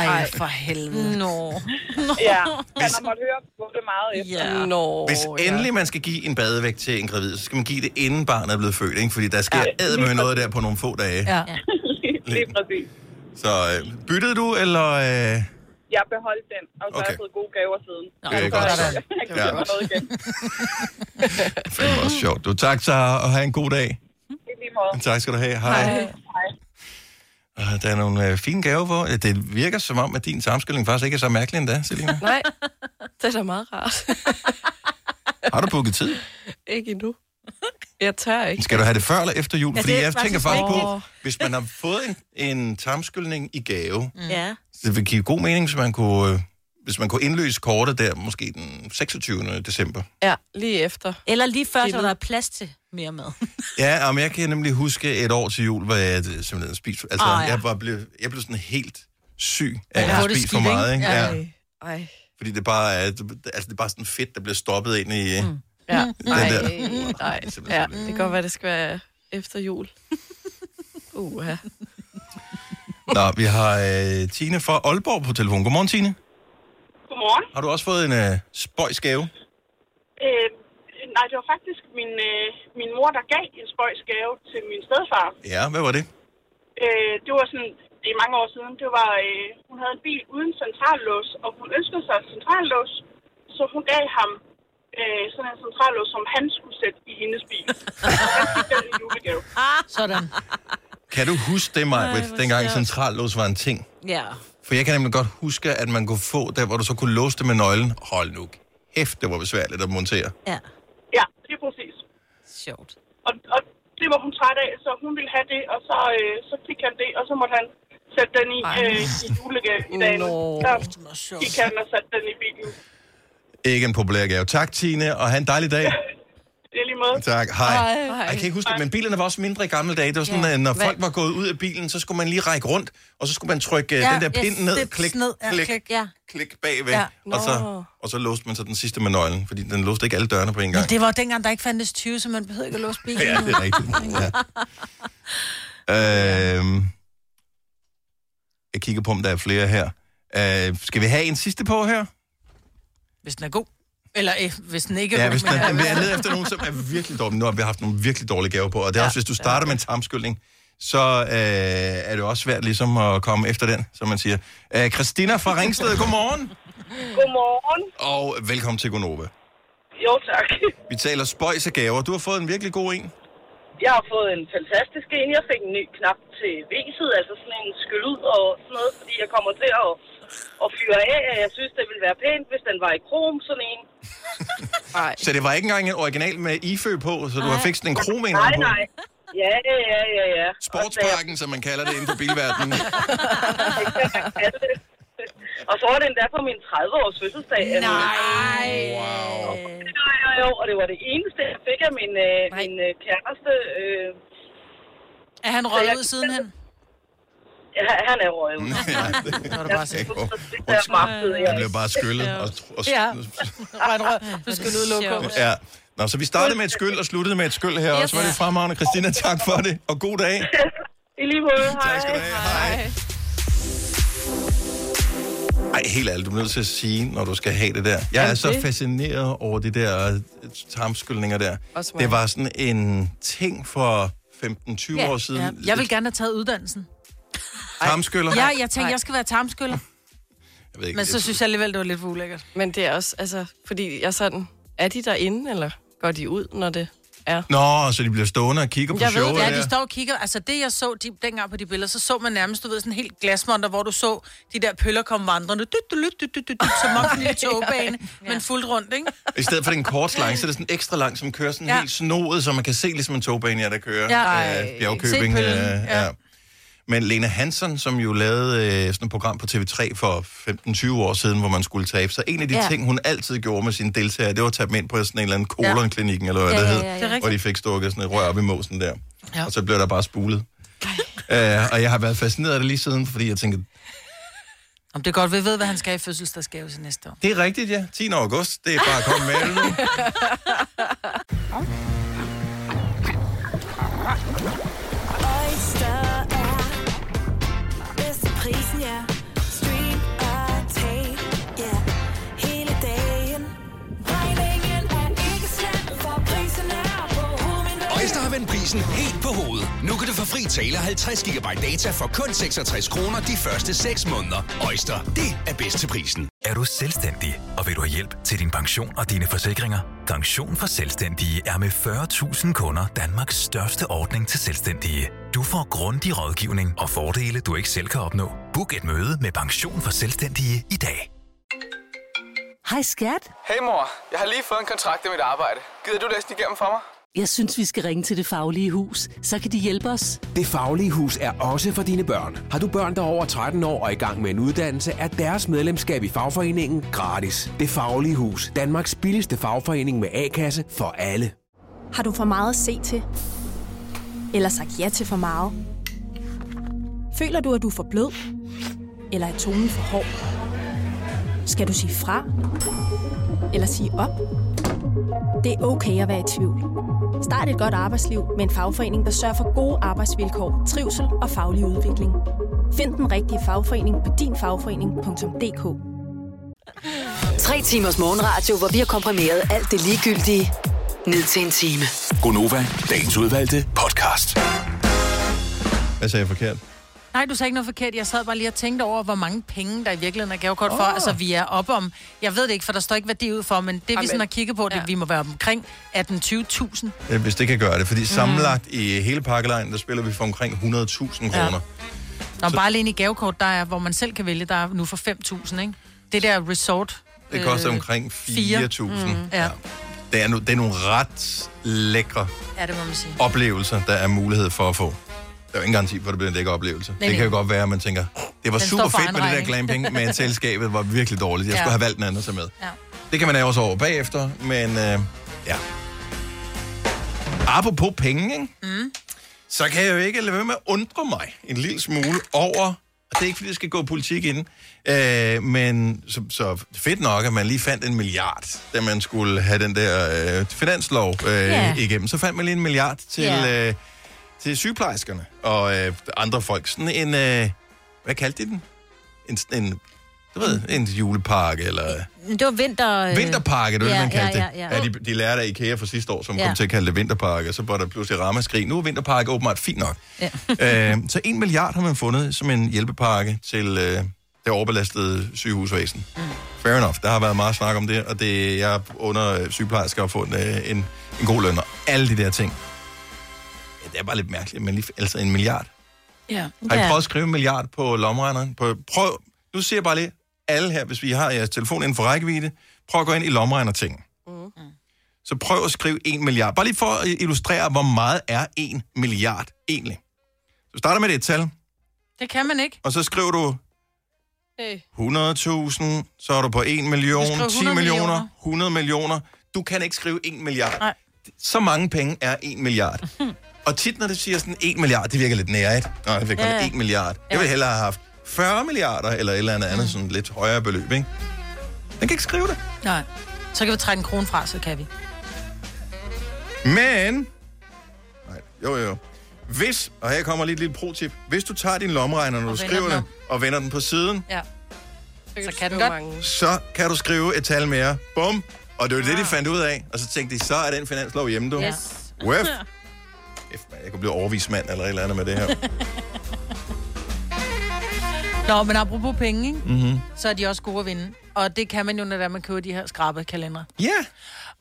Speaker 2: Ej, for helvede.
Speaker 5: Nå.
Speaker 17: Ja, han har måttet høre på det meget efter.
Speaker 2: Ja.
Speaker 6: Nå,
Speaker 1: Hvis endelig man skal give en badevægt til en gravid, så skal man give det, inden barnet er blevet født, ikke? Fordi der sker
Speaker 17: Ja.
Speaker 1: ja, med noget der på nogle få dage.
Speaker 17: Ja. Lige præcis.
Speaker 1: Så øh, byttede du, eller... Øh,
Speaker 17: Jeg beholdt den, og så okay. har jeg fået gode gaver siden.
Speaker 1: Det er
Speaker 17: Så
Speaker 1: godt.
Speaker 17: jeg- Jeg kan
Speaker 1: Ja.
Speaker 17: ja. noget igen.
Speaker 1: fandme også sjovt. Du, tak, Sara, og have en god dag.
Speaker 17: I lige måde.
Speaker 1: Tak skal du have. Hej.
Speaker 17: Hej.
Speaker 1: Og Der er nogle øh, fine gaver for. Det virker som om, at din sammenstilling faktisk ikke er så mærkelig endda, Selina.
Speaker 6: Nej, det er da meget rart.
Speaker 1: Har du booket tid?
Speaker 6: ikke endnu. Jeg tør ikke.
Speaker 1: Skal du have det før eller efter jul?
Speaker 6: Ja,
Speaker 1: Fordi
Speaker 6: det er
Speaker 1: jeg tænker
Speaker 6: faktisk
Speaker 1: faktisk på,
Speaker 6: rigtigt.
Speaker 1: hvis man har fået en, en tarmskyldning i gave,
Speaker 5: Ja.
Speaker 2: Mm.
Speaker 1: det vil give god mening, hvis man kunne øh, hvis man kunne indløse kortet der, måske den 26. december.
Speaker 6: Ja, lige efter.
Speaker 5: Eller lige før, så der er plads til mere mad.
Speaker 1: Ja, og men jeg kan nemlig huske et år til jul, hvor jeg øh, simpelthen spiste... Altså,
Speaker 5: Åh,
Speaker 1: oh,
Speaker 5: ja.
Speaker 1: ja. jeg, var blev, jeg blev sådan helt syg
Speaker 6: Ja,
Speaker 1: af at have
Speaker 6: det er
Speaker 1: spist for
Speaker 6: skidt,
Speaker 1: meget, ikke?
Speaker 6: ikke?
Speaker 1: Ja.
Speaker 6: Ej. Ej.
Speaker 1: Fordi det bare er, altså, det er bare sådan fedt, der bliver stoppet ind i... Mm.
Speaker 6: Ja.
Speaker 1: Den
Speaker 6: Ej.
Speaker 1: der.
Speaker 6: Ej. Ja, det kan godt være, det skal være efter jul. Uha.
Speaker 1: Nå, vi har øh, Tine fra Aalborg på telefon. Godmorgen, Tine.
Speaker 15: Godmorgen.
Speaker 1: Har du også fået en øh, spøjs gave?
Speaker 15: Øh, nej, det var faktisk min, øh, min mor, der gav en spøjsgave til min stedfar.
Speaker 1: Ja, hvad var det?
Speaker 15: Øh, det var sådan, det er mange år siden, det var, øh, hun havde en bil uden centrallås, og hun ønskede sig en centrallås, så hun gav ham øh, sådan en centrallås, som han skulle sætte i hendes bil. Han fik den i julegave.
Speaker 5: Sådan.
Speaker 1: Kan du huske det,
Speaker 5: Ej,
Speaker 1: Maja,
Speaker 5: hvor
Speaker 1: dengang
Speaker 5: sjovt.
Speaker 1: centrallås var en ting?
Speaker 5: Ja.
Speaker 1: For jeg kan nemlig godt huske, at man kunne få der, hvor du så kunne låse det med nøglen. Hold nu kæft, det var besværligt at montere.
Speaker 5: Ja.
Speaker 15: Ja, det er præcis.
Speaker 5: Sjovt.
Speaker 15: Og, og det var hun træt af, så hun ville have det, og så, øh, så fik han det, og så måtte han sætte den i,
Speaker 5: Ej.
Speaker 15: øh, i julegave i dagen.
Speaker 5: Nå.
Speaker 15: Så gik han og satte den i bilen.
Speaker 1: Ikke en populær gave. Tak, Tine, og have en dejlig dag.
Speaker 15: Det er lige måde.
Speaker 1: Tak, hej.
Speaker 15: Hej.
Speaker 1: Ej, Jeg kan ikke huske det, men bilerne var også mindre i gamle dage. Det var sådan,
Speaker 15: Ja.
Speaker 1: at når
Speaker 15: Hvad-
Speaker 1: folk var gået ud af bilen, så skulle man lige række rundt, og så skulle man trykke øh, den der pind ned, klik,
Speaker 5: ned. Ja,
Speaker 1: klik,
Speaker 5: klik, ja.
Speaker 1: klik bagved,
Speaker 2: Ja.
Speaker 1: og, så,
Speaker 2: Nå.
Speaker 1: og så låste man så den sidste med nøglen, fordi den låste ikke alle dørene på en gang.
Speaker 2: Men det var jo dengang, der ikke fandtes 20, så man behøvede ikke at låse bilen.
Speaker 1: Ja, det er rigtigt. Ja. Øhm, jeg kigger på, om der er flere her. Øh, skal vi have en sidste på her?
Speaker 2: Hvis den er god. Eller eh, hvis den ikke er
Speaker 1: Ja,
Speaker 2: god.
Speaker 1: hvis man,
Speaker 2: men-
Speaker 1: man er nede efter nogen, som er virkelig dårlige. Nu har vi haft nogle virkelig dårlige gaver på, og det er ja, også, hvis du starter med en tarmskyldning, så øh, er det jo også svært ligesom at komme efter den, som man siger. Øh, Christina fra Ringsted, godmorgen,
Speaker 15: Godmorgen.
Speaker 1: og velkommen til Gonova.
Speaker 15: Jo, tak.
Speaker 1: Vi taler spøjs af gaver. Du har fået en virkelig god en.
Speaker 15: Jeg har fået en fantastisk en. Jeg fik en ny knap til væset, altså sådan en skyld ud og sådan noget, fordi jeg kommer til at, at fyre af. og Jeg synes, det ville være pænt, hvis den var i krom, sådan en.
Speaker 6: Nej.
Speaker 1: Så det var ikke engang en original med IFØ på, så du har fikset en krom en
Speaker 15: Nej,
Speaker 1: på.
Speaker 15: nej. Ja, ja, ja, ja.
Speaker 1: Sportsparken, som man kalder det inden for bilverdenen.
Speaker 15: Og så var den der på min 30-års fødselsdag.
Speaker 5: Nej.
Speaker 1: Wow.
Speaker 15: Jo, jo, jo, og det var det eneste, jeg fik af min, øh, min øh, kæreste. Øh,
Speaker 2: Er han røget ud sidenhen?
Speaker 15: Ja, han er røget ud.
Speaker 2: Nå, det er bare så.
Speaker 15: Det er meget
Speaker 1: Jeg blev bare skyllet. Og, og,
Speaker 2: Ja. Var han røget? Du skal ud og lukke om.
Speaker 1: ja. Nå, så vi startede med et skyld og sluttede med et skyld her også. Var det fremragende, Christina? Tak for det, og god dag.
Speaker 15: I lige måde. Hej.
Speaker 1: Tak skal du have. Hej. Ej, helt ærligt, du bliver nødt til at sige, når du skal have det der. Jeg er
Speaker 6: Jamen,
Speaker 1: så
Speaker 6: det-
Speaker 1: fascineret over de der øh, tarmskyldninger der.
Speaker 6: Også mig.
Speaker 1: Det var sådan en ting for 15-20
Speaker 2: Ja.
Speaker 1: år siden.
Speaker 2: Ja. Jeg vil gerne have taget uddannelsen.
Speaker 1: Tarmskyller?
Speaker 2: Ja, jeg tænkte, jeg skal være tarmskyller.
Speaker 1: Jeg ved ikke,
Speaker 2: Men så
Speaker 1: det-
Speaker 2: synes jeg alligevel, det var lidt for ulækkert.
Speaker 6: Men det er også, altså, fordi jeg er sådan, er de derinde, eller går de ud, når det er?
Speaker 1: Nå, så de bliver stående og kigger på
Speaker 2: Jeg ved
Speaker 1: showet
Speaker 2: det, ja,
Speaker 1: der.
Speaker 2: de står og kigger. Altså det, jeg så de, dengang på de billeder, så så man nærmest, du ved, sådan en helt glasmonter, hvor du så de der pøller komme vandrende, dyt, dyt, dyt, dyt, dyt, dyt, dyt, som om en lille togbane, men fuldt rundt, ikke?
Speaker 1: I stedet for den korte slange, så er det sådan en ekstra lang, som kører sådan
Speaker 2: Ja.
Speaker 1: ja. helt snoet, så man kan se ligesom en togbane, ja, der kører
Speaker 2: Ja.
Speaker 1: ja.
Speaker 2: Ej,
Speaker 1: øh, Bjergkøbing.
Speaker 2: se
Speaker 1: Øh,
Speaker 2: pøllen,
Speaker 1: ja. Ja. Men Lena Hansen, som jo lavede øh, sådan et program på TV3 for 15-20 år siden, hvor man skulle tabe, så en af de
Speaker 2: Ja.
Speaker 1: ja. ting, hun altid gjorde med sine deltagere, det var at tage dem ind på sådan en eller anden
Speaker 2: Ja.
Speaker 1: kolonklinikken, eller hvad
Speaker 2: Ja,
Speaker 1: det
Speaker 2: ja,
Speaker 1: hed,
Speaker 2: ja, ja. Det er rigtigt.
Speaker 1: hvor de fik stukket sådan et rør op i måsen der.
Speaker 2: Ja.
Speaker 1: Ja. Og så blev der bare spulet. Øh, og jeg har været fascineret af det lige siden, fordi jeg tænkte,
Speaker 2: Om det er godt, vi ved, hvad han skal i fødselsdagsgave til næste år.
Speaker 1: det er rigtigt, ja. 10. august, det er bare at komme med det nu.
Speaker 18: Oyster er bedst til prisen, ja. Stream og tag, ja. Hele dagen. Regningen er ikke slem, for prisen er på hovedet.
Speaker 7: Øjster har vendt prisen helt på hovedet. Nu kan du få fri tale 50 GB data for kun 66 kroner de første 6 måneder. Øjster, det er bedst til prisen.
Speaker 19: Er du selvstændig, og vil du have hjælp til din pension og dine forsikringer? Pension for Selvstændige er med 40.000 kunder Danmarks største ordning til selvstændige. Du får grundig rådgivning og fordele, du ikke selv kan opnå. Book et møde med Pension for Selvstændige i dag.
Speaker 20: Hej skat,
Speaker 21: Hey mor, jeg har lige fået en kontrakt med mit arbejde. Gider du læse den igennem for mig?
Speaker 12: Jeg synes, vi skal ringe til Det Faglige Hus. Så kan de hjælpe os.
Speaker 13: Det Faglige Hus er også for dine børn. Har du børn, der er over 13 år og i gang med en uddannelse, er deres medlemskab i fagforeningen gratis. Det Faglige Hus. Danmarks billigste fagforening med A-kasse for alle.
Speaker 11: Har du for meget at se til? Eller sagt ja til for meget? Føler du, at du er for blød? Eller er tonen for hård? Skal du sige fra? Eller sige op? Det er okay at være i tvivl. Start et godt arbejdsliv med en fagforening, der sørger for gode arbejdsvilkår, trivsel og faglig udvikling. Find den rigtige fagforening på dinfagforening.dk.
Speaker 8: Tre timers morgenradio, hvor vi har komprimeret alt det ligegyldige ned til en time.
Speaker 7: Gonova, dagens udvalgte podcast.
Speaker 1: Hvad sagde jeg forkert?
Speaker 2: Nej, du sagde ikke noget forkert. Jeg sad bare lige og tænkte over, hvor mange penge, der i virkeligheden er gavekort for. Altså, vi er oppe om... Jeg ved det ikke, for der står ikke værdi ud for, men det vi sådan har kigget på, det vi må være omkring 18-20.000.
Speaker 1: Øh, Hvis det kan gøre det, fordi sammenlagt i hele pakkelejen, der spiller vi for omkring 100.000 kroner.
Speaker 2: Nå, bare alene i gavekort, der er, hvor man selv kan vælge, der er nu for 5.000, ikke? Det der resort... øh,
Speaker 1: Det koster omkring 4.000.
Speaker 2: Mm, ja.
Speaker 1: Det, er no, det er nogle ret lækre
Speaker 2: ja, det må man sige.
Speaker 1: oplevelser, der er mulighed for at få. Der er jo ingen garanti for, at det bliver en lækker oplevelse.
Speaker 2: nej.
Speaker 1: det kan jo godt være, at man tænker, det var
Speaker 2: Den
Speaker 1: super
Speaker 2: står for
Speaker 1: fedt
Speaker 2: egen
Speaker 1: med det der
Speaker 2: regning.
Speaker 1: glamping, men selskabet var virkelig dårligt. Jeg
Speaker 2: Ja.
Speaker 1: skulle have valgt en anden at tage med.
Speaker 2: Ja.
Speaker 1: Det kan man også over bagefter, men øh, ja. Apropos penge, ikke?
Speaker 18: Mm.
Speaker 1: så kan jeg jo ikke lade være med at undre mig en lille smule over, og det er ikke, fordi jeg skal gå politik ind, øh, men så, så fedt nok, at man lige fandt en milliard, da man skulle have den der øh, finanslov øh,
Speaker 18: Ja.
Speaker 1: igennem. Så fandt man lige en milliard til,
Speaker 18: Ja.
Speaker 1: øh, til sygeplejerskerne og øh, andre folk. Sådan en, øh, hvad kaldte de den? En, en, du ved, en julepakke, eller...
Speaker 5: Men Det var vinter... Mm. øh,
Speaker 1: Vinterpakke, det var
Speaker 5: ja,
Speaker 1: det, man kaldte
Speaker 5: ja, ja, ja.
Speaker 1: det. Ja, de, de lærte af IKEA fra sidste år, som
Speaker 5: Ja.
Speaker 1: kom til at kalde det vinterpakke, og så var der pludselig ramaskrig. Nu er vinterpakke åbenbart fint nok.
Speaker 5: Ja.
Speaker 1: øh, så en milliard har man fundet som en hjælpepakke til øh, det overbelastede sygehusvæsen. Mm. Fair enough. Der har været meget snak om det, og det jeg under øh, sygeplejersker har fået en, øh, en, en god løn og alle de der ting. Ja, det er bare lidt mærkeligt, men lige, altså en milliard.
Speaker 2: Ja.
Speaker 1: Har I prøvet at skrive en milliard på lommeregneren? På, prøv, nu siger jeg bare lige, alle her, hvis vi har jeres telefon inden for rækkevidde, prøv at gå ind i lommeregner-ting. Mm. Så prøv at skrive en milliard. Bare lige for at illustrere, hvor meget er en milliard egentlig. Du starter med det tal,
Speaker 2: Det kan man ikke.
Speaker 1: og så skriver du
Speaker 2: Øh.
Speaker 1: 100.000, så er du på 1 million,
Speaker 2: Du skriver
Speaker 1: 10
Speaker 2: 100
Speaker 1: millioner,
Speaker 2: millioner.
Speaker 1: 100 millioner. Du kan ikke skrive 1 milliard.
Speaker 2: Nej.
Speaker 1: Så mange penge er 1 milliard. Og tit, når det siger sådan 1 milliard, det virker lidt næret. Nej, det virker
Speaker 18: Ja,
Speaker 1: ja.
Speaker 18: ja.
Speaker 1: 1 milliard. Jeg ville hellere have haft 40 milliarder, eller et eller andet,
Speaker 2: Mm.
Speaker 1: andet sådan lidt højere beløb, ikke? Den kan ikke skrive det.
Speaker 2: Nej. Så kan vi trække en krone fra, så kan vi.
Speaker 1: Men... Nej, jo, jo, jo. Hvis, og her kommer lige et lille pro-tip. Hvis du tager din lommeregner, når du
Speaker 2: vender
Speaker 1: skriver
Speaker 2: den
Speaker 1: den, og vender den på siden,
Speaker 2: Ja. Så kan den
Speaker 6: skrive
Speaker 2: godt.
Speaker 1: så kan du skrive et tal mere. Bum! Og det var det,
Speaker 2: Ah.
Speaker 1: de fandt ud af. Og så tænkte de, så er den finanslov hjemme, du.
Speaker 18: Yes.
Speaker 1: Wef. F, man, Jeg kunne blive overvismand eller et eller andet med det her.
Speaker 2: Nå, men apropos penge, ikke?
Speaker 1: Mm-hmm.
Speaker 2: så er de også gode at vinde. Og det kan man jo, når det er, man køber de her skrabe kalendere.
Speaker 1: Ja.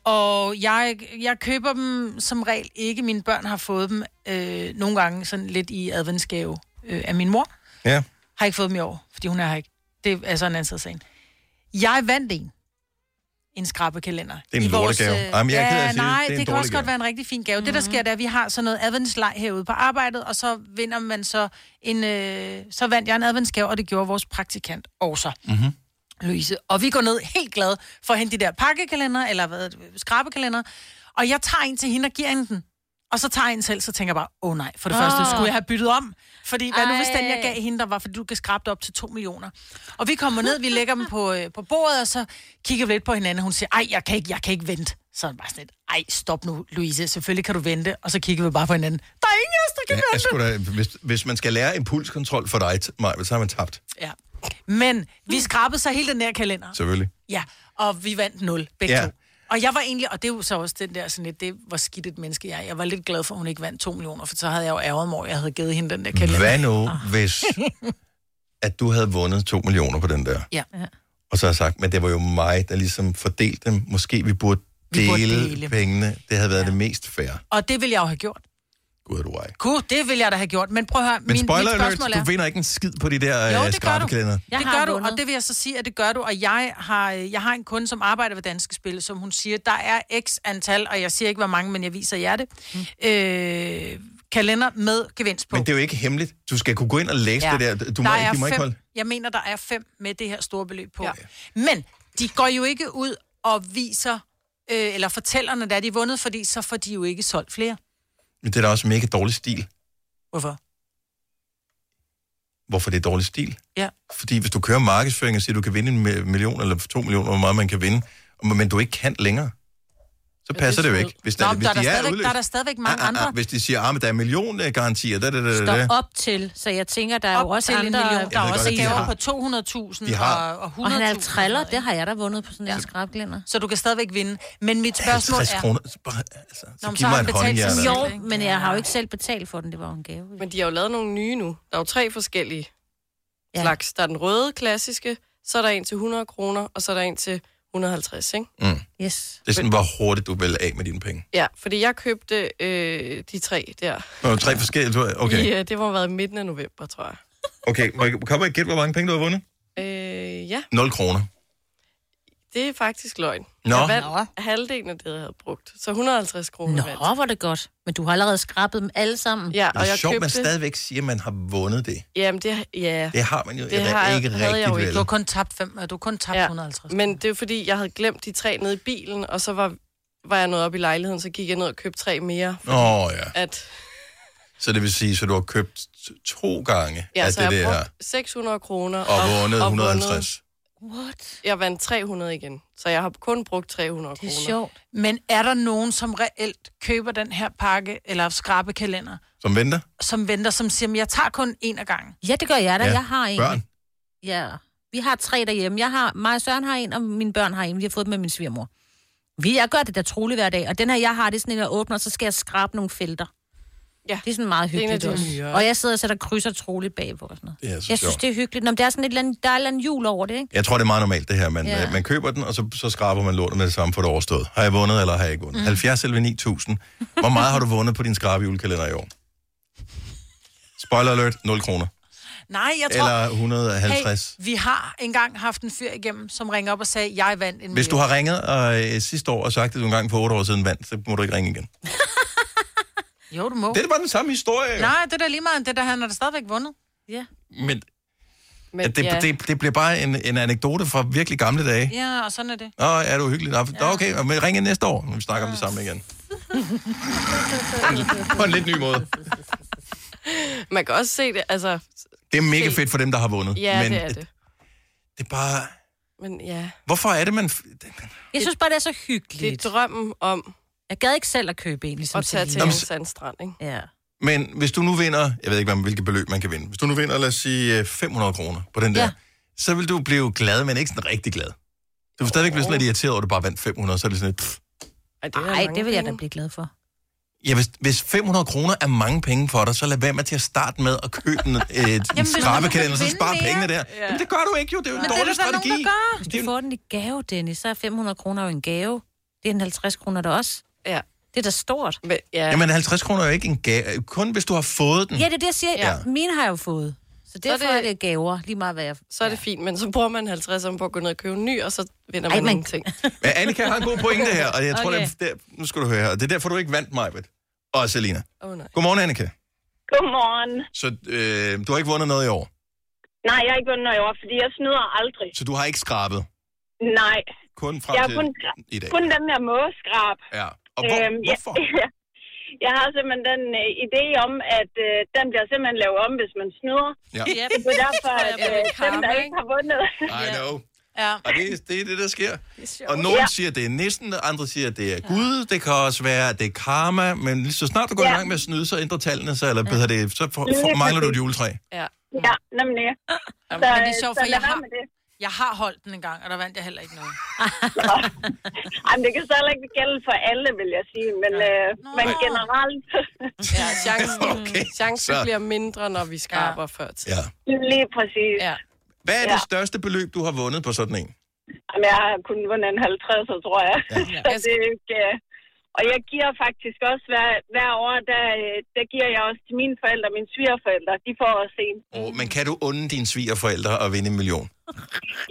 Speaker 2: Og jeg, jeg køber dem som regel ikke. Mine børn har fået dem øh, nogle gange sådan lidt i adventsgave øh, af min mor.
Speaker 1: Ja.
Speaker 2: Har ikke fået dem i år, fordi hun er her ikke. Det er sådan en anden side af sagen. Jeg vandt en. En skrabekalender.
Speaker 1: Det er en
Speaker 2: I vores,
Speaker 1: lortegave.
Speaker 2: øh,
Speaker 1: Jamen, jeg er ked af at
Speaker 2: ja,
Speaker 1: sige det.
Speaker 2: nej,
Speaker 1: Det er en
Speaker 2: det, kan
Speaker 1: dårlig
Speaker 2: også
Speaker 1: gave.
Speaker 2: godt være en rigtig fin gave. Mm-hmm. Det, der
Speaker 5: Mhm.
Speaker 2: sker, det er, at vi har sådan noget adventslej herude på arbejdet, og så vinder man så en... Øh, så vandt jeg en adventsgave, og det gjorde vores praktikant også.
Speaker 21: Mhm.
Speaker 18: Mm-hmm.
Speaker 2: Louise. Og vi går ned helt glade for at hente de der pakkekalender, eller hvad, skrabekalender. Og jeg tager en til hende og giver hende den. Og så tager jeg en selv, så tænker jeg bare, åh oh, nej, for det oh. første
Speaker 5: Åh.
Speaker 2: skulle jeg have byttet om. Fordi hvad nu hvis den, jeg
Speaker 5: Ej.
Speaker 2: gav hende, der var, fordi du kan skrabe det op til 2 millioner. Og vi kommer ned, vi lægger dem på, øh, på bordet, og så kigger vi lidt på hinanden. Hun siger, ej, jeg kan ikke, jeg kan ikke vente. Så er det bare sådan lidt, ej, stop nu, Louise, selvfølgelig kan du vente. Og så kigger vi bare på hinanden. Der er ingen af os, der kan
Speaker 1: Ja, jeg skulle da, hvis, hvis man skal lære impulskontrol for dig, Maja, så har man tabt.
Speaker 2: Ja. Men vi skrabede så hele den der kalender.
Speaker 1: Selvfølgelig.
Speaker 2: Ja, og vi vandt 0, begge
Speaker 1: Ja.
Speaker 2: ja. to. Og jeg var egentlig, og det er jo så også den der sådan lidt, det hvor skidt et menneske jeg er. Jeg var lidt glad for, at hun ikke vandt 2 millioner, for så havde jeg jo ærget mig, over, at jeg havde givet hende den der kalender. Ah.
Speaker 1: Hvad nu, hvis at du havde vundet 2 millioner på den der?
Speaker 2: ja.
Speaker 1: Og så har jeg sagt, men det var jo mig, der ligesom fordelte dem. Måske vi burde
Speaker 2: Vi
Speaker 1: dele,
Speaker 2: burde
Speaker 1: vi burde
Speaker 2: dele.
Speaker 1: dele. pengene. Det havde været ja. det mest fair.
Speaker 2: Og det ville jeg jo have gjort.
Speaker 1: Gud, du ej.
Speaker 2: Gud, det ville jeg da have gjort. Men prøv at høre,
Speaker 1: Men
Speaker 2: min,
Speaker 1: spoiler
Speaker 2: mit
Speaker 1: alert,
Speaker 2: spørgsmål er...
Speaker 1: du vinder ikke en skid på de der
Speaker 2: Jo,
Speaker 1: øh,
Speaker 2: det gør du.
Speaker 1: skrabeklæder.
Speaker 2: det gør du, og det vil jeg så sige, at det gør du. Og jeg har, jeg har en kunde, som arbejder ved Danske Spil, som hun siger, der er x antal, og jeg siger ikke, hvor mange, men jeg viser jer det, øh, kalender med gevinst på.
Speaker 1: Men det er jo ikke hemmeligt. Du skal kunne gå ind og læse ja. det der. Du må,
Speaker 2: der
Speaker 1: ikke,
Speaker 2: er
Speaker 1: de må
Speaker 2: fem,
Speaker 1: ikke holde.
Speaker 2: Jeg mener, der er fem med det her store beløb på. Ja. Men de går jo ikke ud og viser, øh, eller fortæller, når det er, de er vundet, fordi så får de jo ikke solgt flere.
Speaker 1: Men det er da også mega dårlig stil.
Speaker 2: Hvorfor?
Speaker 1: Hvorfor det er dårlig stil?
Speaker 2: Ja.
Speaker 1: Fordi hvis du kører markedsføring og siger, du kan vinde en mi- million eller to millioner, hvor meget man kan vinde, men men du ikke kan længere, så passer det jo ikke. Hvis
Speaker 2: Nå,
Speaker 1: der,
Speaker 2: men
Speaker 1: hvis
Speaker 2: der, er der,
Speaker 1: de
Speaker 2: stadigvæk, der er der
Speaker 1: udløst-
Speaker 2: stadigvæk mange
Speaker 1: Ah, ah,
Speaker 2: andre.
Speaker 1: ah, hvis de siger, at ah, men der er milliongarantier, da, da, da, da, da.
Speaker 5: Står op til, så jeg tænker, der er jo også
Speaker 2: til en
Speaker 5: andre...
Speaker 2: million.
Speaker 1: Der er Jeg ved også godt, at de gaver har- på
Speaker 2: 200.000
Speaker 1: De har-
Speaker 2: og- og 100.000.
Speaker 5: Og han er alt triller, det har jeg da vundet på sådan en ja. skrabglænder.
Speaker 2: Så du kan stadigvæk vinde. Men mit spørgsmål
Speaker 1: 50
Speaker 2: er...
Speaker 1: kroner. Bare, altså, så
Speaker 2: men
Speaker 1: giv mig et håndjern. altså.
Speaker 5: Jo, men jeg har jo ikke selv betalt for den, det var jo en gave.
Speaker 6: Men de har jo lavet nogle nye nu. Der er jo tre forskellige ja. slags. Der er den røde, klassiske, så er der en til 100 kroner, og så er der en til 150, ikke?
Speaker 1: Mm.
Speaker 5: Yes.
Speaker 1: Det er sådan, hvor hurtigt du vil af med dine penge.
Speaker 6: Ja, fordi jeg købte øh, de tre der.
Speaker 1: Nå, tre forskellige, du-
Speaker 6: I,
Speaker 1: okay.
Speaker 6: øh, det må have været midten af november, tror jeg.
Speaker 1: Okay, må jeg- kan man ikke gætte, hvor mange penge du har vundet?
Speaker 6: Øh, ja,
Speaker 1: 0 kroner.
Speaker 6: det er faktisk løgn.
Speaker 1: Nå.
Speaker 6: Jeg vandt halvdelen af det, jeg havde brugt. Så 150 kroner vandt.
Speaker 5: Nå, hvor er det godt. Men du har allerede skrabet dem alle sammen.
Speaker 6: Ja,
Speaker 1: Det er sjovt, man stadigvæk siger, at man har vundet det.
Speaker 6: Jamen, det, ja.
Speaker 1: Det har man jo
Speaker 6: Det
Speaker 1: det
Speaker 6: har jeg-
Speaker 1: ikke
Speaker 6: havde jeg
Speaker 1: rigtigt,
Speaker 6: jo
Speaker 1: vel?
Speaker 6: ikke.
Speaker 2: Du har kun tabt, fem, du har kun tabt ja. 150.
Speaker 6: Men det er fordi, jeg havde glemt de tre nede i bilen, og så var, var jeg nået op i lejligheden, så gik jeg ned og købte tre mere.
Speaker 1: Åh, oh, ja.
Speaker 6: At,
Speaker 1: Så det vil sige, så du har købt t- to gange
Speaker 6: ja,
Speaker 1: af
Speaker 6: så
Speaker 1: det
Speaker 6: jeg
Speaker 1: der,
Speaker 6: brugte 600 kroner.
Speaker 1: og vundet 150.
Speaker 5: What?
Speaker 6: Jeg vandt 300 igen, så jeg har kun brugt 300 kroner.
Speaker 2: Men er der nogen, som reelt køber den her pakke, eller skrabekalender,
Speaker 1: Som venter?
Speaker 2: som venter, som siger, "Men jeg tager kun en af gangen?
Speaker 5: Ja, det gør jeg da. Ja. Jeg har en.
Speaker 1: Børn?
Speaker 5: Ja, vi har tre derhjemme. Jeg har, mig og Søren har en, og mine børn har en. Vi har fået dem med min svigermor. Vi, jeg gør det der troligt hver dag, og den her, jeg har, det er sådan en, jeg åbner, og så skal jeg skrabe nogle felter.
Speaker 6: Ja.
Speaker 5: Det er sådan meget
Speaker 6: Det er en af
Speaker 5: hyggeligt
Speaker 6: de
Speaker 5: også.
Speaker 6: nyere.
Speaker 5: Og jeg sidder og sætter krydser troligt bagpå og sådan noget.
Speaker 1: Det er så
Speaker 5: jeg
Speaker 1: sjovt.
Speaker 5: synes, det er hyggeligt. Nå, men der er sådan et eller andet, der er et eller andet jul over det, ikke?
Speaker 1: Jeg tror, det er meget normalt, det her. Man,
Speaker 5: Ja.
Speaker 1: ja. man køber den, og så, så skraber man lortet med det samme for det overstået. Har jeg vundet, eller har jeg ikke vundet?
Speaker 5: Mm.
Speaker 1: Mm. 70 eller 9000. Hvor meget har du vundet på din skrabe julekalender i år? Spoiler alert, 0 kroner.
Speaker 2: Nej, jeg tror...
Speaker 1: Eller 150.
Speaker 2: Hey, vi har engang haft en fyr igennem, som ringer op og sagde, jeg vandt en
Speaker 1: Hvis du
Speaker 2: million."
Speaker 1: har ringet øh, sidste år og sagt, at du engang for 8 år siden vandt, så må du ikke ringe igen.
Speaker 2: Jo, du må.
Speaker 1: Det er bare den samme historie. jo.
Speaker 2: Nej, det er da lige meget. Det er da, han har da stadigvæk vundet.
Speaker 5: Ja.
Speaker 1: Men, Men det, ja. det, det bliver bare en, en anekdote fra virkelig gamle dage.
Speaker 2: Ja, og sådan er det.
Speaker 1: Nå, er du hyggelig? Nå, Nå, okay, men ringe næste år, når vi snakker om det samme igen. På en lidt ny måde.
Speaker 6: Man kan også se det, altså...
Speaker 1: Det er mega fedt for dem, der har vundet.
Speaker 6: Ja,
Speaker 1: men
Speaker 6: det er det.
Speaker 1: det er bare...
Speaker 6: Men ja...
Speaker 1: Hvorfor er det, man... f-
Speaker 5: Jeg synes bare, det er så hyggeligt.
Speaker 6: Det er drømmen om...
Speaker 5: Jeg gad ikke selv at købe en, ligesom
Speaker 6: Og tage til
Speaker 1: Nå,
Speaker 6: en
Speaker 1: men-
Speaker 6: sandstrand, ikke?
Speaker 5: Ja.
Speaker 1: Men hvis du nu vinder... Jeg ved ikke, hvad- hvilket beløb man kan vinde. Hvis du nu vinder, lad os sige, øh, 500 kroner på den der, ja. så vil du blive glad, men ikke sådan rigtig glad. Du vil stadigvæk blive sådan lidt irriteret over, at du bare vandt 500, så er det sådan lidt... Pff.
Speaker 5: Nej, det vil jeg da blive glad for.
Speaker 1: Ja, hvis, hvis 500 kroner er mange penge for dig, så lad være med til at starte med at købe en, et
Speaker 5: man
Speaker 1: Jamen, skrabekalender,
Speaker 5: vil
Speaker 1: så
Speaker 5: vinde
Speaker 1: spar
Speaker 5: mere.
Speaker 1: pengene der.
Speaker 5: Ja.
Speaker 1: Jamen, det gør du ikke jo, det er jo en
Speaker 5: Men
Speaker 1: dårlig
Speaker 5: der
Speaker 1: strategi.
Speaker 5: nogen, der gør. Hvis du får den i gave, Dennis, så er 500 kroner jo en gave. Det er en 50 kroner der også.
Speaker 6: Ja.
Speaker 5: Det er da stort.
Speaker 6: Men, ja.
Speaker 1: Jamen 50 kroner er jo ikke en gave, kun hvis du har fået den.
Speaker 5: Ja, det er det, jeg siger. Ja.
Speaker 1: Ja.
Speaker 5: Mine har jeg jo fået. Så derfor
Speaker 6: det-
Speaker 5: er det gaver, lige meget hvad jeg...
Speaker 6: Så er det fint, men så bruger man 50 om på at gå ned og købe en ny, og så vinder
Speaker 5: Ej,
Speaker 6: man,
Speaker 5: man-
Speaker 6: Ej, ingenting.
Speaker 1: Men Annika har en god pointe her, og jeg tror,
Speaker 6: Okay.
Speaker 1: okay. det er, der, nu skal du høre her. Det er derfor, du ikke vandt mig, Og Selina.
Speaker 6: Oh, nej.
Speaker 1: Godmorgen, Annika.
Speaker 16: Godmorgen.
Speaker 1: Så øh, du har ikke vundet noget i år,
Speaker 16: Nej, jeg er ikke vundet noget i år, fordi jeg snyder aldrig.
Speaker 1: så du har ikke skrabet.
Speaker 16: Nej.
Speaker 1: Kun frem
Speaker 16: Jeg er
Speaker 1: til
Speaker 16: kun,
Speaker 1: i dag.
Speaker 16: kun dem, jeg må skrabe.
Speaker 1: Ja. Og hvor, øhm, hvorfor?
Speaker 16: Jeg, jeg har simpelthen den øh, idé om, at øh, den bliver simpelthen lavet om, hvis man snyder.
Speaker 1: Ja. Yep.
Speaker 16: Det er derfor,
Speaker 18: Så er
Speaker 16: at
Speaker 18: jeg blevet
Speaker 16: øh, dem,
Speaker 18: karma,
Speaker 16: der ikke har vundet...
Speaker 1: I know.
Speaker 2: Ja.
Speaker 1: Og det, det er det, der sker.
Speaker 16: sjovt.
Speaker 1: Og nogen
Speaker 16: Ja.
Speaker 1: ja. siger, at det er næsten, og andre siger, at det er Gud. Det kan også være, at det er karma. Men lige så snart du går
Speaker 16: Ja.
Speaker 1: i gang med at snyde, så ændrer tallene sig, eller ja. det, så for, for, mangler du et juletræ.
Speaker 6: Ja.
Speaker 16: Ja, nemlig.
Speaker 2: Jamen, men det er sjovt,
Speaker 16: så
Speaker 2: for
Speaker 16: lad
Speaker 2: jeg
Speaker 16: være
Speaker 2: har,
Speaker 16: med det.
Speaker 2: jeg har holdt den en gang, og der vandt jeg heller ikke noget.
Speaker 16: Jamen, det kan så heller ikke gælde for alle, vil jeg sige, men, øh, men
Speaker 6: Nå.
Speaker 16: generelt
Speaker 6: Ja, chancen, okay. chancen
Speaker 1: så-
Speaker 6: bliver mindre, når vi skraber ja. før tid.
Speaker 1: Ja.
Speaker 16: lige præcis.
Speaker 6: Ja.
Speaker 1: Hvad er
Speaker 16: Ja.
Speaker 1: ja. det største beløb, du har vundet på sådan en?
Speaker 16: Jamen, jeg har kun vundet en 50, tror jeg. Ja. så det er ikke... øh,
Speaker 21: Og jeg giver faktisk også hver, hver år, der, øh, der giver jeg også til mine forældre, mine svigerforældre, de får også en.
Speaker 1: Og, men kan du unde dine svigerforældre at vinde en million?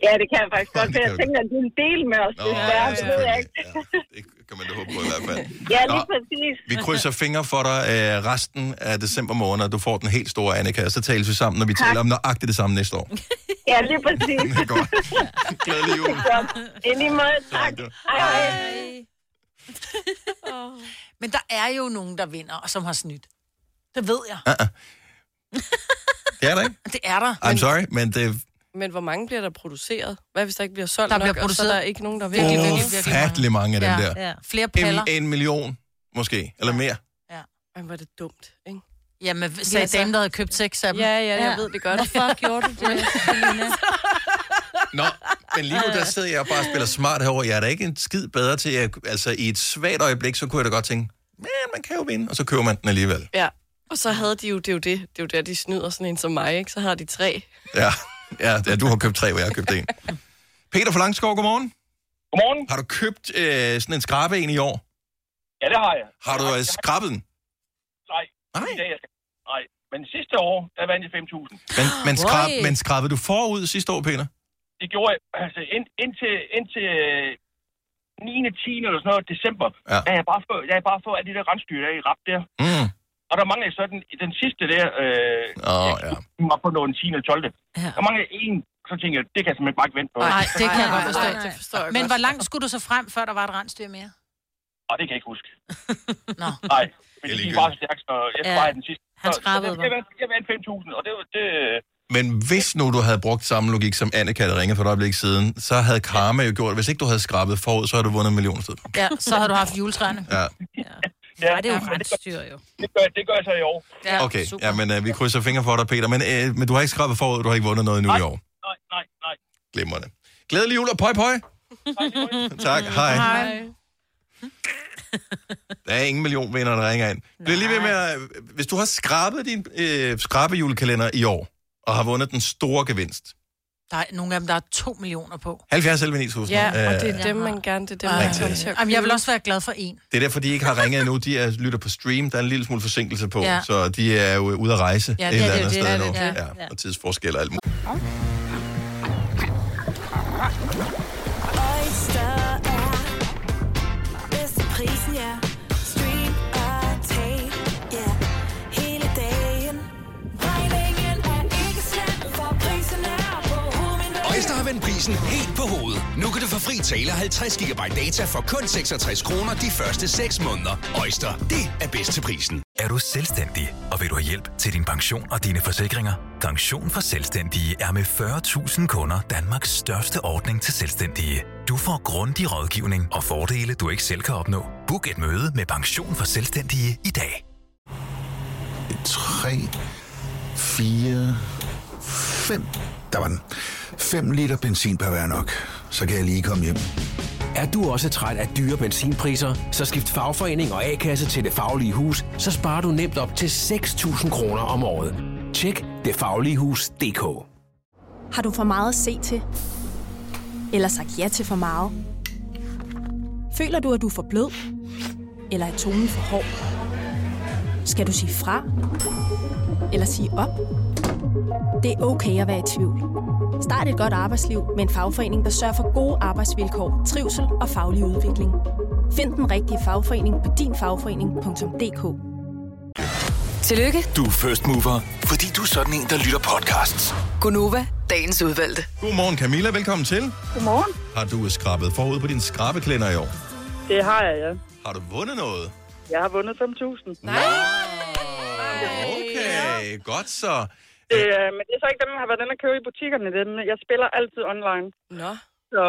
Speaker 21: Ja, det kan jeg faktisk godt,
Speaker 1: Det
Speaker 21: for
Speaker 1: kan
Speaker 21: jeg
Speaker 1: du.
Speaker 21: tænker, at de vil dele med os,
Speaker 1: Nå,
Speaker 21: desværre,
Speaker 1: ja,
Speaker 21: det ved jeg ikke.
Speaker 1: Kan man da håbe på i hvert fald.
Speaker 21: Ja,
Speaker 1: Nå,
Speaker 21: lige præcis.
Speaker 1: vi krydser fingre for dig øh, resten af december måned, og du får den helt store, Annika, og så tales vi sammen, når vi
Speaker 21: Tak.
Speaker 1: taler om nøjagtigt det samme næste år.
Speaker 21: Ja, lige præcis.
Speaker 1: Det er godt. Glædelig jul.
Speaker 21: Så, I lige måde, tak. Hej, hej.
Speaker 2: Men der er jo nogen, der vinder, og som har snydt. Det ved jeg.
Speaker 1: Det er der ikke?
Speaker 2: Det er der.
Speaker 1: I'm sorry, men det er
Speaker 6: Men hvor mange bliver der produceret? Hvad hvis der ikke bliver solgt
Speaker 2: Der
Speaker 6: nok,
Speaker 2: bliver
Speaker 6: og så
Speaker 2: produceret
Speaker 6: er der ikke nogen, der virkelig, virkelig, virkelig
Speaker 1: ufattelig mange af dem
Speaker 6: Ja,
Speaker 1: der.
Speaker 6: ja.
Speaker 2: Flere paller.
Speaker 1: En, en million, måske, eller mere.
Speaker 6: Ej, hvor er det dumt, ikke?
Speaker 2: Ja, men sagde
Speaker 6: altså-
Speaker 2: damen, der havde købt seks af dem.
Speaker 6: Ja, ja, jeg ved det godt.
Speaker 2: Hvorfor gjorde du det, Selina?
Speaker 1: Nå, men lige nu, der sidder jeg og bare og spiller smart herovre. Jeg er da ikke en skid bedre til, at, altså i et svagt øjeblik, så kunne jeg da godt tænke, men man kan jo vinde, og så køber man den alligevel.
Speaker 6: Ja, og så havde de jo, det er jo det, det er jo der, de snyder sådan en som mig, ikke? Så har de tre.
Speaker 1: Ja, ja, ja du har købt tre, og jeg har købt en. Peter fra Langskov, godmorgen.
Speaker 22: Godmorgen.
Speaker 1: Har du købt øh, sådan en skrabe en i år?
Speaker 22: Ja, det har jeg.
Speaker 1: Har du øh, skrabet den?
Speaker 22: Nej. Nej. I dag, jeg skal... Nej. Men sidste år, der vandt jeg 5.000.
Speaker 1: Men, men, skrab,
Speaker 22: Why?
Speaker 1: men skrabede du forud sidste år, Peter?
Speaker 22: Det gjorde jeg altså, ind, indtil, indtil øh, 9. 10. eller sådan noget, december.
Speaker 1: Ja.
Speaker 22: Da jeg bare får, da jeg bare får alt det der rensdyr, der er i rap der.
Speaker 1: Mm.
Speaker 22: Og der mangler jeg så den, den sidste der, øh,
Speaker 1: oh, ja.
Speaker 22: var på noget den 10. eller 12. Ja. Der mangler en, så tænker jeg, det kan jeg simpelthen bare ikke vente på.
Speaker 2: Nej, det kan jeg godt forstå.
Speaker 22: Nej.
Speaker 2: Det forstår jeg Men hvor langt skulle du så frem, før der var et rensdyr mere?
Speaker 22: Og det kan jeg ikke huske. Nå. Nej, fordi de er bare så stærkt, så jeg skal
Speaker 2: Ja.
Speaker 22: bare have den sidste.
Speaker 2: Han
Speaker 22: Så- så
Speaker 2: skrabede
Speaker 22: jeg- Jeg vandt, jeg vandt 5.000, og det, var- det,
Speaker 1: Men hvis nu du havde brugt samme logik, som Annika havde ringet for et øjeblik siden, så havde karma jo gjort, hvis ikke du havde skrabet forud, så havde du vundet en million i stedet. for.
Speaker 2: Ja, så havde du haft juletræerne.
Speaker 1: Ja.
Speaker 22: ja,
Speaker 2: det er jo rensdyr, jo.
Speaker 22: det, gør, det gør jeg så i år.
Speaker 2: Ja,
Speaker 1: okay,
Speaker 2: super.
Speaker 1: ja, men øh, vi krydser fingre for dig, Peter. Men, øh, men du har ikke skrabet forud, du har ikke vundet noget endnu i år.
Speaker 22: Nej, nej, nej.
Speaker 1: Glimrende. Glædelig jul og pøj pøj. Tak, hej. Der er ingen million vinder, der ringer ind. Bliv lige ved med at, Hvis du har skrabet din øh, skrabejulekalender i år, og har vundet den store gevinst,
Speaker 2: Der er nogle af dem, der er to millioner på.
Speaker 1: 70 11 9000.
Speaker 6: Ja,
Speaker 1: øh,
Speaker 6: og det er dem, man gerne, det er dem, man
Speaker 1: Rigtig.
Speaker 6: kommer til at
Speaker 2: Jamen, jeg vil også være glad for en.
Speaker 1: Det er derfor, de ikke har ringet endnu. De er, lytter på stream. Der er en lille smule forsinkelse på,
Speaker 2: Ja.
Speaker 1: ja. så de er jo øh, ude at rejse
Speaker 2: Ja,
Speaker 1: ja,
Speaker 2: det
Speaker 1: det,
Speaker 2: er
Speaker 1: et eller
Speaker 2: det,
Speaker 1: andet
Speaker 2: det er
Speaker 1: sted
Speaker 2: det,
Speaker 1: nu.
Speaker 2: det er det.
Speaker 1: Ja, og tidsforskel og alt muligt.
Speaker 18: Oyster er bedst til prisen, ja. Stream og tag, ja. Hele dagen. Regningen er ikke slem, for prisen er på
Speaker 23: Øjster har vendt prisen helt på hovedet. Nu kan du få fri tale 50 GB data for kun 66 kroner de første 6 måneder. Øjster, det er bedst til prisen.
Speaker 19: Er du selvstændig, og vil du have hjælp til din pension og dine forsikringer? Pension for Selvstændige er med 40.000 kunder Danmarks største ordning til selvstændige. Du får grundig rådgivning og fordele, du ikke selv kan opnå. Book et møde med Pension for Selvstændige i dag.
Speaker 24: 3, 4, 5. Der var den. 5 liter benzin per hver nok. Så kan jeg lige komme hjem.
Speaker 13: Er du også træt af dyre benzinpriser, så skift fagforening og A-kasse til Det Faglige Hus, så sparer du nemt op til 6.000 kroner om året. Tjek detfagligehus.dk
Speaker 11: Har du for meget at se til? Eller sagt ja til for meget? Føler du, at du er for blød? Eller er tonen for hård? Skal du sige fra? Eller sige op? Det er okay at være i tvivl. Start et godt arbejdsliv med en fagforening, der sørger for gode arbejdsvilkår, trivsel og faglig udvikling. Find den rigtige fagforening på dinfagforening.dk.
Speaker 8: Tillykke,
Speaker 7: Du er first mover, fordi du er sådan en, der lytter podcasts.
Speaker 8: Gunova, dagens udvalgte.
Speaker 1: Godmorgen Camilla, velkommen til.
Speaker 25: Godmorgen.
Speaker 1: Har du skrabet forud på din skrabekalender i år?
Speaker 25: Det har jeg, ja.
Speaker 1: Har du vundet noget?
Speaker 25: Jeg har vundet 5.000. Nej.
Speaker 1: Okay, Øh, godt så.
Speaker 25: Det, øh, men det er så ikke dem, jeg har været inde og købe i butikkerne. Dem. Jeg spiller altid online.
Speaker 6: Nå.
Speaker 25: Så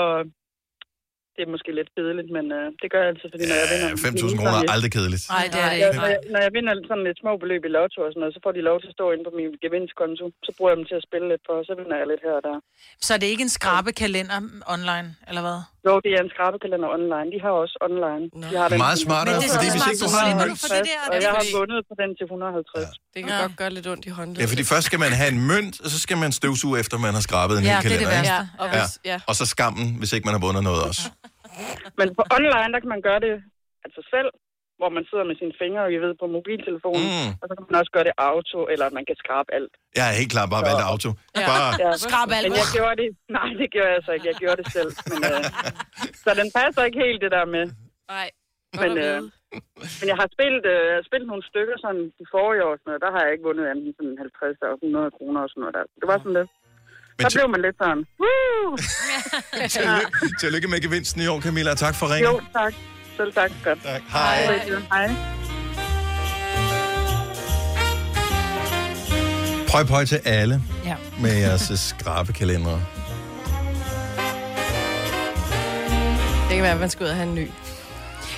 Speaker 25: det er måske lidt kedeligt, men øh, det gør jeg altid, fordi når jeg vinder...
Speaker 1: 5.000 kroner er aldrig kedeligt.
Speaker 25: Nej, det er det ikke. Når jeg, når jeg vinder sådan lidt små beløb i lotto og sådan noget, så får de lov til at stå inde på min gevinstkonto. Så bruger jeg dem til at spille lidt på, og så vinder jeg lidt her og der.
Speaker 2: Så er det ikke en skrabekalender online, eller hvad?
Speaker 25: Jo, det er en skrabekalender online. De har også online. De har
Speaker 1: Meget smartere, Men det er fordi så hvis smart, ikke du så har en slipper du mønt-
Speaker 25: for
Speaker 1: for
Speaker 25: det
Speaker 1: det
Speaker 25: der,
Speaker 1: der,
Speaker 25: og jeg har
Speaker 1: fordi-
Speaker 25: vundet på den til 150. Ja.
Speaker 6: Det kan godt gøre lidt ondt i håndledet.
Speaker 1: Ja, fordi først skal man have en mønt, og så skal man støvsuge efter, man har skrabet en
Speaker 25: Ja,
Speaker 1: hel
Speaker 25: det er det
Speaker 1: kalender. ikke?
Speaker 25: værste. Ja, og hvis- ja.
Speaker 1: Og så skammen, hvis ikke man har vundet noget også.
Speaker 25: Men på online, der kan man gøre det altså selv. hvor man sidder med sine fingre, og jeg ved, på mobiltelefonen, mm. og så kan man også gøre det auto, eller man kan skrabe alt.
Speaker 1: Jeg er helt klart bare valgt auto. Bare,
Speaker 25: Skrab alt. Men jeg gjorde det. Nej, det gjorde jeg så ikke. Jeg gjorde det selv. Men, øh, så den passer ikke helt, det der med.
Speaker 6: Nej.
Speaker 25: Men, øh, men jeg har spillet, øh, jeg har spillet nogle stykker sådan de forrige år, og sådan noget. der har jeg ikke vundet andet end sådan 50 og 100 kroner og sådan noget. Der. Det var sådan lidt.
Speaker 1: Men
Speaker 25: Så
Speaker 1: til-
Speaker 25: blev man lidt sådan, woo!
Speaker 1: tillykke, tillykke med gevinsten i år, Camilla, og tak for
Speaker 25: Jo,
Speaker 1: ringen.
Speaker 25: tak. Selv tak. Godt.
Speaker 1: Tak. Hej.
Speaker 25: Hej.
Speaker 1: Prøv prøv til alle
Speaker 2: Ja.
Speaker 1: med jeres øh, skrabekalendere.
Speaker 6: Det kan være, at man skal ud og have en ny.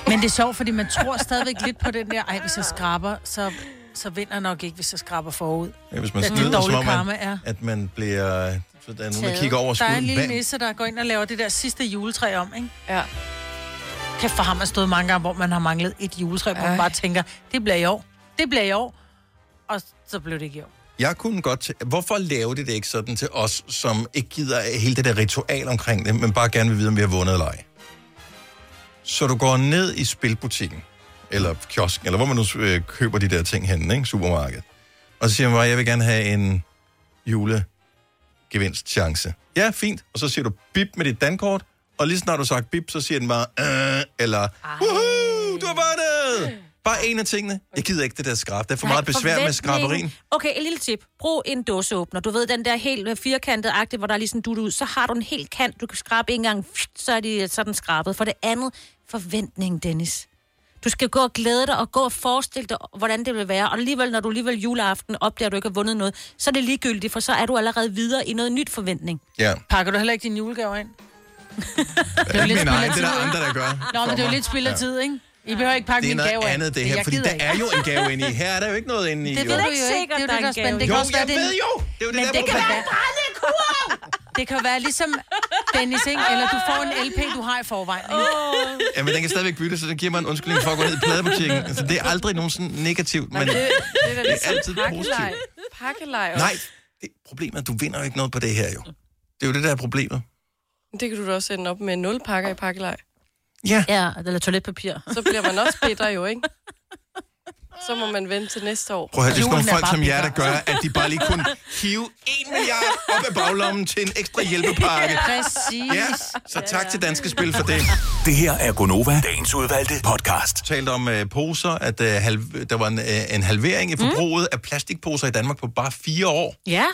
Speaker 2: Men det er sjovt, fordi man tror stadigvæk lidt på den der, ej, hvis jeg skraber, så, så vinder jeg nok ikke, hvis jeg skraber forud.
Speaker 1: Ja, Hvis man
Speaker 2: Den
Speaker 1: snyder,
Speaker 2: dårlige
Speaker 1: som om
Speaker 2: karma
Speaker 1: man,
Speaker 2: er.
Speaker 1: at man bliver... Så der er nogen, der
Speaker 2: Taget.
Speaker 1: kigger over
Speaker 2: Der er en
Speaker 1: skuden.
Speaker 2: lille
Speaker 1: Hvad-
Speaker 2: nisse, der går ind og laver det der sidste juletræ om, ikke? Ja. Kæft, for ham har stået mange gange, hvor man har manglet et juletræ, hvor man bare tænker, det bliver i år, det bliver i år, og så blev det ikke i år.
Speaker 1: Jeg kunne godt... tæ- Hvorfor laver de det ikke sådan til os, som ikke gider hele det der ritual omkring det, men bare gerne vil vide, om vi har vundet eller ej? Så du går ned i spilbutikken, eller kiosken, eller hvor man nu øh, køber de der ting henne, ikke? Supermarkedet. Og så siger man bare, jeg vil gerne have en julegevinstchance. Ja, fint. Og så siger du bip med dit dankort, og lige snart du har sagt bip, så siger den bare, øh, eller Woohoo, du har vundet! Bare en af tingene. Jeg gider ikke det der skrab. Der er for
Speaker 5: Nej,
Speaker 1: meget besvær med
Speaker 5: forventningen.
Speaker 1: skraberien.
Speaker 5: Okay, et lille tip. Brug en dåseåbner. Du ved, den der helt firkantede agte, hvor der er lige sådan en dut ud. Så har du en helt kant. Du kan skrabe en gang, Pft, så er de sådan skrabet. For det andet, forventning, Dennis. Du skal gå og glæde dig og gå og forestille dig, hvordan det vil være. Og alligevel, når du alligevel juleaften opdager, at du ikke har vundet noget, så er det ligegyldigt, for så er du allerede videre i noget nyt forventning.
Speaker 1: Ja.
Speaker 2: Pakker du heller ikke dine julegaver ind?
Speaker 1: Det er
Speaker 2: jo lidt
Speaker 1: min egen,
Speaker 2: spild af
Speaker 1: det er der
Speaker 2: tid,
Speaker 1: andre, der gør.
Speaker 2: Nå, men det er jo lidt spild af tid, ikke? I behøver ikke pakke
Speaker 1: Det
Speaker 2: min
Speaker 1: er noget
Speaker 2: gave
Speaker 1: andet, det her, fordi der er jo en gave inde i. Her er der jo ikke noget inde i.
Speaker 2: Det
Speaker 1: jo.
Speaker 2: ved du jo ikke. Det er jo det, der er spændende. Det
Speaker 1: Jo,
Speaker 2: kan også
Speaker 1: jeg
Speaker 2: være, det er en-
Speaker 1: ved jo. Det er jo det,
Speaker 2: Men
Speaker 1: der
Speaker 2: det kan
Speaker 1: problem.
Speaker 2: være... Det kan være ligesom Dennis, ikke? Eller du får en LP, du har i forvejen, ikke?
Speaker 1: Jamen, den kan stadigvæk bytte, så den giver mig en undskyldning for at gå ned i pladebutikken. Altså, det er aldrig nogen sådan negativt, men
Speaker 6: Men det, det er da
Speaker 1: det er
Speaker 6: ligesom
Speaker 1: altid
Speaker 6: pakkelej.
Speaker 1: positivt.
Speaker 6: Pakkelej også.
Speaker 1: Nej, det, problemet er, at du vinder jo ikke noget på det her, jo. Det er jo det, der er problemet.
Speaker 6: Det kan du da også ende op med nul pakker i pakkelej.
Speaker 1: Ja.
Speaker 5: Ja, eller toiletpapir.
Speaker 6: Så bliver man også bitter jo, ikke? Så må man vente til næste år.
Speaker 1: Prøv at høre, det er sådan nogle folk som jer, der gør, at de bare lige kunne hive en milliard op af baglommen til en ekstra hjælpepakke.
Speaker 2: Præcis.
Speaker 1: Ja, så tak til Danske Spil for det.
Speaker 7: Det her er Gonova, dagens udvalgte podcast.
Speaker 1: Talt om øh, poser, at øh, halv, der var en, øh, en halvering i forbruget mm. af plastikposer i Danmark på bare fire år.
Speaker 5: Ja.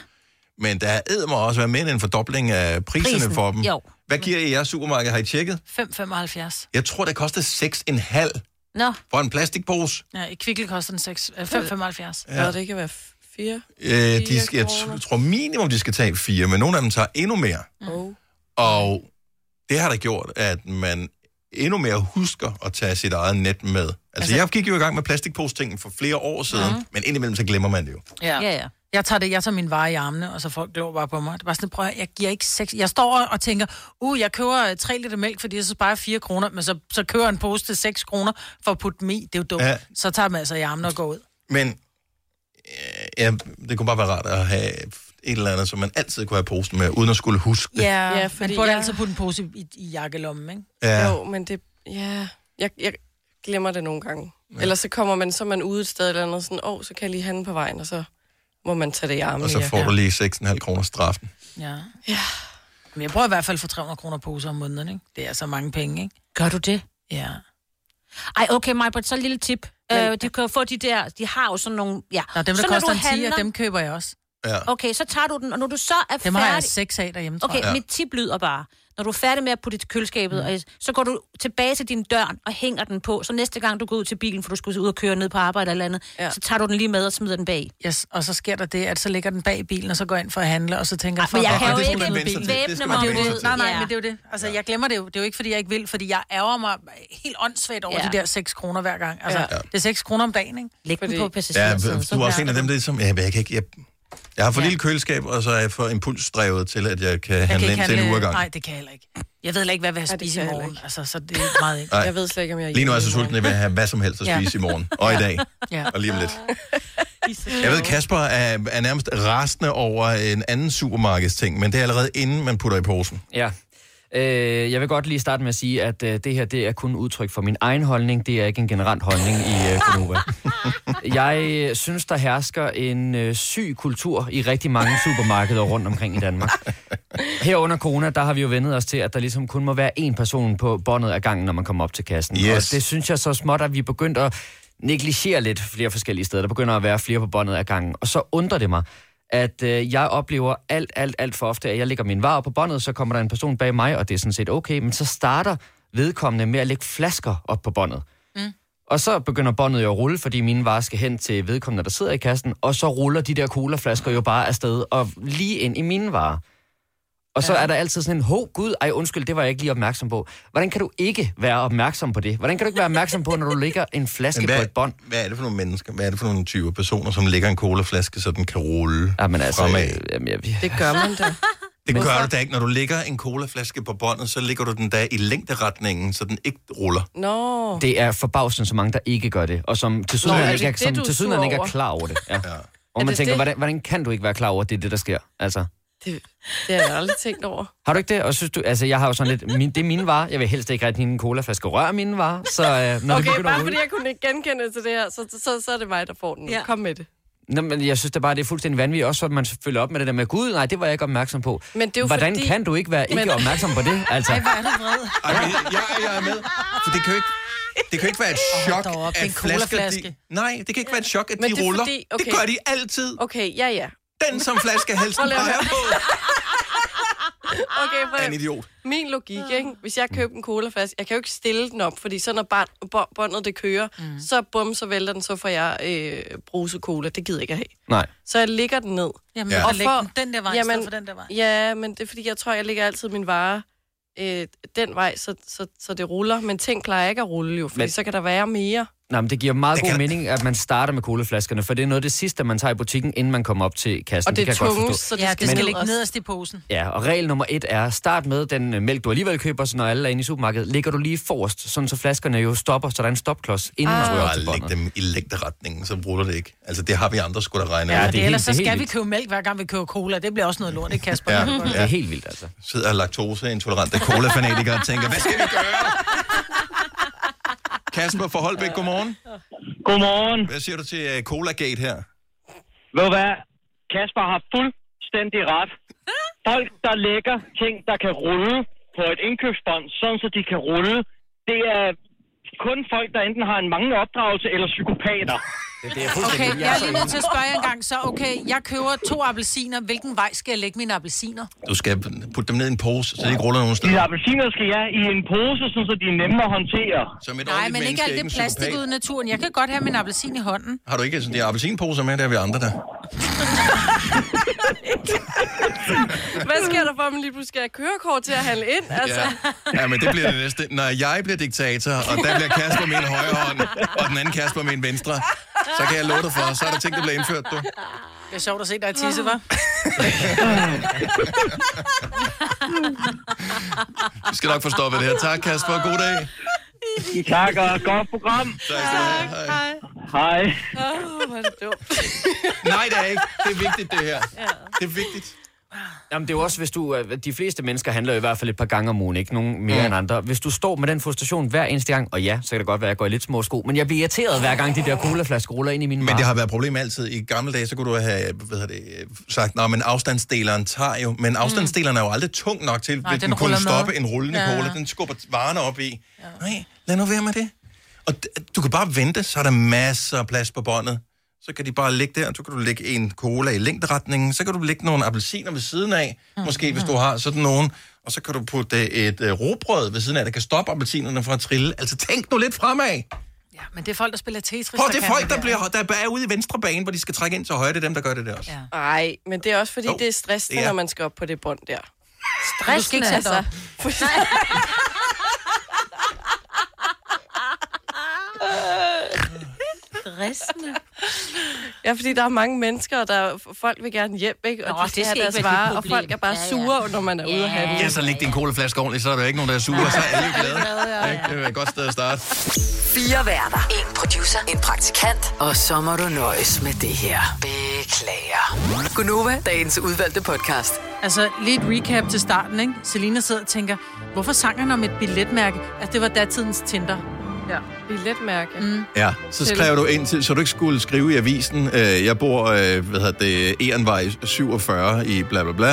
Speaker 1: Men der er mig også være med en fordobling af priserne
Speaker 2: Prisen,
Speaker 1: Prisen. for dem.
Speaker 2: jo.
Speaker 1: Hvad giver I jeres supermarked? Har I tjekket?
Speaker 2: 5,75.
Speaker 1: Jeg tror, det koster 6,5
Speaker 5: Nå.
Speaker 1: for en plastikpose.
Speaker 2: Ja, i Kvickle koster den 6, øh, 5,75.
Speaker 1: Ja. Nå, det
Speaker 6: kan være 4.
Speaker 1: Øh, de skal, jeg t- tror minimum, de skal tage fire, men nogle af dem tager endnu mere.
Speaker 6: Oh.
Speaker 1: Og det har da gjort, at man endnu mere husker at tage sit eget net med. Altså, altså jeg gik jo i gang med plastikpostingen for flere år siden,
Speaker 2: Mhm.
Speaker 1: men indimellem så glemmer man det jo.
Speaker 2: Ja. ja, ja. Jeg tager, det, jeg tager min vare i armene, og så folk glor bare på mig. Det var sådan, prøv at høre, jeg giver ikke seks. Jeg står og- og tænker, uh, jeg køber 3 liter mælk, fordi jeg så sparer 4 kroner, men så, så køber jeg en pose til 6 kroner for at putte dem i. Det er jo dumt.
Speaker 1: Ja.
Speaker 2: Ja. Så tager man altså i armene og går ud.
Speaker 1: Men øh, ja, det kunne bare være rart at have et eller andet, som man altid kunne have posen med, uden at skulle huske det.
Speaker 2: Ja,
Speaker 6: Ja,
Speaker 2: ja
Speaker 6: fordi
Speaker 2: man burde
Speaker 6: jeg-
Speaker 2: jeg... altid putte en pose i, i, i jakkelommen, ikke?
Speaker 1: Ja.
Speaker 6: Jo, men det... Ja, jeg, jeg glemmer det nogle gange. Ja. Ellers så kommer man, så er man ude et sted eller andet, sådan, åh, oh, så kan jeg lige have den på vejen, og så må man tage det i armen.
Speaker 1: Og så får
Speaker 6: ja.
Speaker 1: du lige 6,5 kroner straffen.
Speaker 2: Ja. ja. Men jeg bruger i hvert fald for 300 kroner poser om måneden, ikke? Det er så mange penge, ikke?
Speaker 5: Gør du det?
Speaker 2: Ja.
Speaker 5: Ej, okay, Majbert, så et lille tip. Øh, du kan jo få de der, de har jo sådan nogle... Ja.
Speaker 2: Nå, dem,
Speaker 5: så,
Speaker 2: der så
Speaker 5: når
Speaker 2: koster
Speaker 5: du
Speaker 2: en 10,
Speaker 5: handler-
Speaker 2: dem køber jeg også.
Speaker 1: Ja.
Speaker 5: Okay, så tager du den, og når du så er
Speaker 2: Dem har
Speaker 5: færdig...
Speaker 2: jeg seks af derhjemme, tror
Speaker 5: Okay,
Speaker 2: jeg.
Speaker 5: mit tip lyder bare. Når du er færdig med at putte det i køleskabet,
Speaker 2: Mm.
Speaker 5: og så går du tilbage til din dør og hænger den på. Så næste gang du går ud til bilen, for du skulle ud og køre ned på arbejde eller andet, ja. så tager du den lige med og smider den bag.
Speaker 2: Yes, og så sker der det, at så ligger den bag i bilen, og så går jeg ind for at handle, og så tænker
Speaker 1: Ah,
Speaker 5: Ej,
Speaker 2: jeg...
Speaker 5: men jeg
Speaker 2: fuck,
Speaker 5: kan
Speaker 2: hvor
Speaker 5: jo
Speaker 2: er det
Speaker 5: ikke
Speaker 2: dumt, at
Speaker 5: væbne
Speaker 2: bilen-
Speaker 5: mig
Speaker 2: Det er jo
Speaker 5: mod
Speaker 2: det.
Speaker 5: det.
Speaker 2: Nej, nej,
Speaker 5: Ja.
Speaker 2: men det er jo det. Altså, jeg glemmer det jo. Det er jo ikke, fordi jeg ikke vil, fordi jeg ærger mig helt åndsvagt over
Speaker 5: Ja.
Speaker 2: de der 6 kroner hver gang. Altså,
Speaker 5: Ja.
Speaker 2: det er 6 kroner om dagen, ikke?
Speaker 5: Læg den på
Speaker 1: Ja,
Speaker 5: passagersædet.
Speaker 1: du er også en af dem, der som, ja, men jeg, kan ikke, jeg, jeg har for lille køleskab, og så er jeg for impulsdrevet til, at jeg kan handle ind til en uge ad gangen.
Speaker 2: Nej, det kan jeg heller ikke. Jeg ved heller ikke, hvad vi har spist i morgen. Altså, så det er meget ikke.
Speaker 1: Nej.
Speaker 6: Jeg ved slet ikke, om jeg er
Speaker 1: Lige nu er jeg så
Speaker 6: hjemme i
Speaker 1: sulten, at jeg vil have hvad som helst at
Speaker 2: Ja.
Speaker 1: spise i morgen, og i dag,
Speaker 2: Ja.
Speaker 1: og lige om lidt. Jeg ved, Kasper er, er nærmest rasende over en anden supermarkedsting, men det er allerede inden man putter i posen.
Speaker 3: Ja. Øh, jeg vil godt lige starte med at sige, at øh, det her det er kun udtryk for min egen holdning. Det er ikke en generelt holdning i øh, Konova. Jeg øh, synes, der hersker en øh, syg kultur i rigtig mange supermarkeder rundt omkring i Danmark. Her under corona, der har vi jo vendet os til, at der ligesom kun må være én person på båndet af gangen, når man kommer op til kassen.
Speaker 1: Yes.
Speaker 3: Og det synes jeg så småt, at vi er begyndt at negligere lidt flere forskellige steder. Der begynder at være flere på båndet af gangen. Og så undrer det mig, at øh, jeg oplever alt, alt, alt for ofte, at jeg lægger min varer på båndet, så kommer der en person bag mig, og det er sådan set okay, men så starter vedkommende med at lægge flasker op på båndet.
Speaker 18: Mm.
Speaker 3: Og så begynder båndet jo at rulle, fordi mine varer skal hen til vedkommende, der sidder i kassen, og så ruller de der colaflasker jo bare afsted og lige ind i mine varer. Og så er der altid sådan en, ho gud, ej undskyld, det var jeg ikke lige opmærksom på. Hvordan kan du ikke være opmærksom på det? Hvordan kan du ikke være opmærksom på, når du lægger en flaske
Speaker 1: hvad,
Speaker 3: på et bånd?
Speaker 1: hvad er det for nogle mennesker? Hvad er det for nogle typer personer, som lægger en colaflaske, så den kan rulle ja, men altså, fremad?
Speaker 3: øh, Jamen, jeg,
Speaker 6: Det gør man da.
Speaker 1: det gør
Speaker 6: Hvorfor?
Speaker 1: du da ikke. Når du lægger en colaflaske på båndet, så lægger du den da i længderetningen, så den ikke ruller.
Speaker 6: Nå.
Speaker 3: Det er forbavsende så mange, der ikke gør det, og som til
Speaker 6: Nå, er
Speaker 3: sydenheden
Speaker 6: det
Speaker 3: mm, ikke, er-
Speaker 6: det,
Speaker 3: som,
Speaker 6: du er
Speaker 3: til sydenheden
Speaker 6: sur
Speaker 3: ikke er
Speaker 6: over?
Speaker 3: klar over det. Ja. Ja. Og
Speaker 6: Er
Speaker 3: man
Speaker 6: det
Speaker 3: tænker,
Speaker 6: det?
Speaker 3: hvordan, hvordan kan du ikke være klar over, at det er det, der sker? Altså,
Speaker 6: Det, det har jeg aldrig tænkt over.
Speaker 3: har du ikke det? Og synes du, altså, jeg har jo sådan lidt, min, det er mine varer. Jeg vil helst ikke rigtig en colaflaske røre mine varer. Så øh, når det
Speaker 6: Okay,
Speaker 3: begynder at
Speaker 6: bare fordi
Speaker 3: rulle,
Speaker 6: jeg kunne ikke genkende til det her, så, så, så er det mig, der får den. Ja. Kom med det.
Speaker 3: Nå, men jeg synes det bare, det er fuldstændig vanvittigt. Også at man følger op med det der med, gud, nej, det var jeg ikke opmærksom på.
Speaker 6: Men det er jo
Speaker 3: hvordan
Speaker 6: fordi-
Speaker 3: kan du ikke være ikke
Speaker 6: Men-
Speaker 3: opmærksom på det? Altså,
Speaker 6: Ej, hvor er
Speaker 2: du vred.
Speaker 1: Ej, men jeg, jeg er med. For det kan jo ikke, det kan jo ikke være et chok,
Speaker 6: dog op, det er
Speaker 1: at
Speaker 6: en
Speaker 1: flasker...
Speaker 6: colaflaske.
Speaker 1: De, nej, det kan ikke være et chok, at
Speaker 6: Men det
Speaker 1: de
Speaker 6: er
Speaker 1: ruller.
Speaker 6: fordi-
Speaker 1: Det
Speaker 6: okay.
Speaker 1: gør de altid.
Speaker 6: Okay, ja, ja.
Speaker 1: Den, som flaskehalsen
Speaker 6: Prøv lige at
Speaker 1: peger
Speaker 6: høre.
Speaker 1: på,
Speaker 6: Okay, for
Speaker 1: er en idiot.
Speaker 6: min logik, ikke?
Speaker 2: Ah.
Speaker 6: Hvis jeg køber en colaflaske, jeg kan jo ikke stille den op, fordi så når barn, bo- båndet det kører, mm. så bum, så vælter den, så får jeg øh, bruse cola. Det gider jeg ikke at have.
Speaker 3: Nej.
Speaker 6: Så jeg ligger den ned.
Speaker 2: Jamen, Ja. læg den den der vej i stedet for den der vej.
Speaker 6: Ja, men det er fordi, jeg tror, jeg ligger altid min vare øh, den vej, så, så, så det ruller. Men ting klarer ikke at rulle jo, fordi
Speaker 3: Men-
Speaker 6: men... så kan der være mere.
Speaker 3: Nej, men det giver meget god mening, at man starter med colaflaskerne, for det er noget af det sidste, man tager i butikken, inden man kommer op til kassen.
Speaker 6: Og det er
Speaker 3: kan jeg godt
Speaker 6: tungest,
Speaker 3: forstå.
Speaker 6: så det
Speaker 2: Ja, det skal
Speaker 3: Men-
Speaker 2: ligge nederst i posen.
Speaker 3: Ja, og regel nummer et er, start med den øh, mælk, du alligevel køber, så når alle er inde i supermarkedet, ligger du lige forrest, sådan så flaskerne jo stopper, så der er en stopklods, inden ah.
Speaker 1: Ah.
Speaker 3: man rører
Speaker 1: Bare
Speaker 3: til
Speaker 1: læg
Speaker 3: båndet.
Speaker 1: dem i længderetningen, så ruller det ikke. Altså, det har vi andre skulle da regne
Speaker 2: Ja,
Speaker 1: ud.
Speaker 2: det, det ellers så skal vi købe mælk, hver gang vi køber cola. Det bliver også noget lort, ikke Kasper?
Speaker 1: Ja,
Speaker 2: Det
Speaker 1: ja.
Speaker 3: helt vildt, altså.
Speaker 1: Sidder laktoseintolerante cola-fanatikere og tænker, hvad skal vi gøre? Kasper fra Holbæk, godmorgen.
Speaker 4: Godmorgen.
Speaker 1: Hvad siger du til øh, Colagate her?
Speaker 4: Ved du hvad? Kasper har fuldstændig ret. Folk, der lægger ting, der kan rulle på et indkøbsbånd, sådan så de kan rulle, det er kun folk, der enten har en manglende opdragelse eller psykopater.
Speaker 3: Det er
Speaker 2: Okay, jeg er lige nødt til at spørge jer en gang, så okay, jeg køber to appelsiner. Hvilken vej skal jeg lægge mine appelsiner?
Speaker 1: Du skal putte dem ned i en pose, så de ikke ruller nogen steder.
Speaker 4: De appelsiner skal jeg i en pose, sådan så de er nemme at håndtere.
Speaker 1: Som et
Speaker 2: Nej, men
Speaker 1: ordentligt menneske,
Speaker 2: ikke alt
Speaker 1: en
Speaker 2: det plastik
Speaker 1: psykopat.
Speaker 2: ud i naturen. Jeg kan godt have min appelsin i hånden.
Speaker 1: Har du ikke sådan de appelsinposer med, der er vi andre der?
Speaker 6: Hvad sker der for, at man lige pludselig skal have kørekort til at handle ind? Altså, ja.
Speaker 1: Ja, men det bliver det næste. Når jeg bliver diktator, og der bliver Kasper med en højre hånd, og den anden Kasper med en venstre, så kan jeg love dig for, så er der ting, der bliver indført, du.
Speaker 2: Det er sjovt at se dig tisse, hva'?
Speaker 1: Vi skal nok få stoppet det her. Tak, Kasper. God dag.
Speaker 4: Tak, og godt program.
Speaker 1: Tak skal du have. Hej.
Speaker 4: Hej.
Speaker 6: Åh, hvor er det dumt.
Speaker 1: Nej, det er ikke. Det er vigtigt, det her. Det er vigtigt.
Speaker 3: Jamen, det er jo også, hvis du... øh, De fleste mennesker handler jo i hvert fald et par gange om ugen, ikke? Nogen mere
Speaker 1: Mm.
Speaker 3: end andre. Hvis du står med den frustration hver eneste gang, og ja, så kan det godt være, at jeg går i lidt små sko, men jeg bliver irriteret hver gang, de der colaflasker ruller ind i mine
Speaker 1: Men det har været et problem altid. I gamle dage, så kunne du have hvad hedder det, sagt, at men afstandsdeleren tager jo. Men afstandsdeleren er jo aldrig tung nok til,
Speaker 3: Mm. Nej,
Speaker 1: at
Speaker 3: den
Speaker 1: den kunne
Speaker 3: ruller med.
Speaker 1: stoppe en rullende
Speaker 3: Ja.
Speaker 1: cola. Den skubber varerne op i. Nej, lad nu være med det. Og d- du kan bare vente, så er der masser af plads på båndet. Så kan de bare ligge der, så kan du lægge en cola i længderetningen, så kan du lægge nogle appelsiner ved siden af,
Speaker 3: Mm,
Speaker 1: måske hvis du har sådan nogen, og så kan du putte øh, et øh, robrød ved siden af, der kan stoppe appelsinerne fra at trille. Altså tænk nu lidt fremad.
Speaker 2: Ja, Ah, men det er folk, der spiller Tetris.
Speaker 1: Prøv, det er
Speaker 2: kan
Speaker 1: folk, der,
Speaker 2: der.
Speaker 1: bliver, der er ude i venstre bane, hvor de skal trække ind til højre. Det er dem, der gør det der også. Ja.
Speaker 6: Nej, men det er også fordi, det er stressende,
Speaker 1: det er.
Speaker 6: når man skal op på det bånd der. altså.
Speaker 2: Stressende er det op.
Speaker 5: Stressende.
Speaker 6: Ja, fordi der er mange mennesker, og der, folk vil gerne hjem, ikke? Og
Speaker 5: Nå,
Speaker 6: Nå, de skal
Speaker 5: det
Speaker 6: have
Speaker 5: skal
Speaker 6: deres
Speaker 5: ikke være dit
Speaker 6: varer, og
Speaker 5: problem.
Speaker 6: folk er bare
Speaker 5: Ja, ja.
Speaker 6: sure, når man er ude at handle.
Speaker 1: Ja, så læg din colaflaske ordentligt, så er der jo ikke nogen, der er sure, og så er alle glade.
Speaker 6: ja,
Speaker 1: Ikke? Det er et godt sted at starte.
Speaker 8: Fire værter. En producer. En praktikant. Og så må du nøjes med det her. Beklager. Gunova, dagens udvalgte podcast.
Speaker 2: Altså, lige et recap til starten, ikke? Selina sidder og tænker, hvorfor sang han om et billetmærke? Altså, det var datidens Tinder.
Speaker 6: Ja. Billetmærke.
Speaker 2: Mm.
Speaker 1: Ja, så skrev du ind til, så du ikke skulle skrive i avisen, øh, jeg bor, øh, hvad hedder det, Ehrenvej 47 i bla bla bla.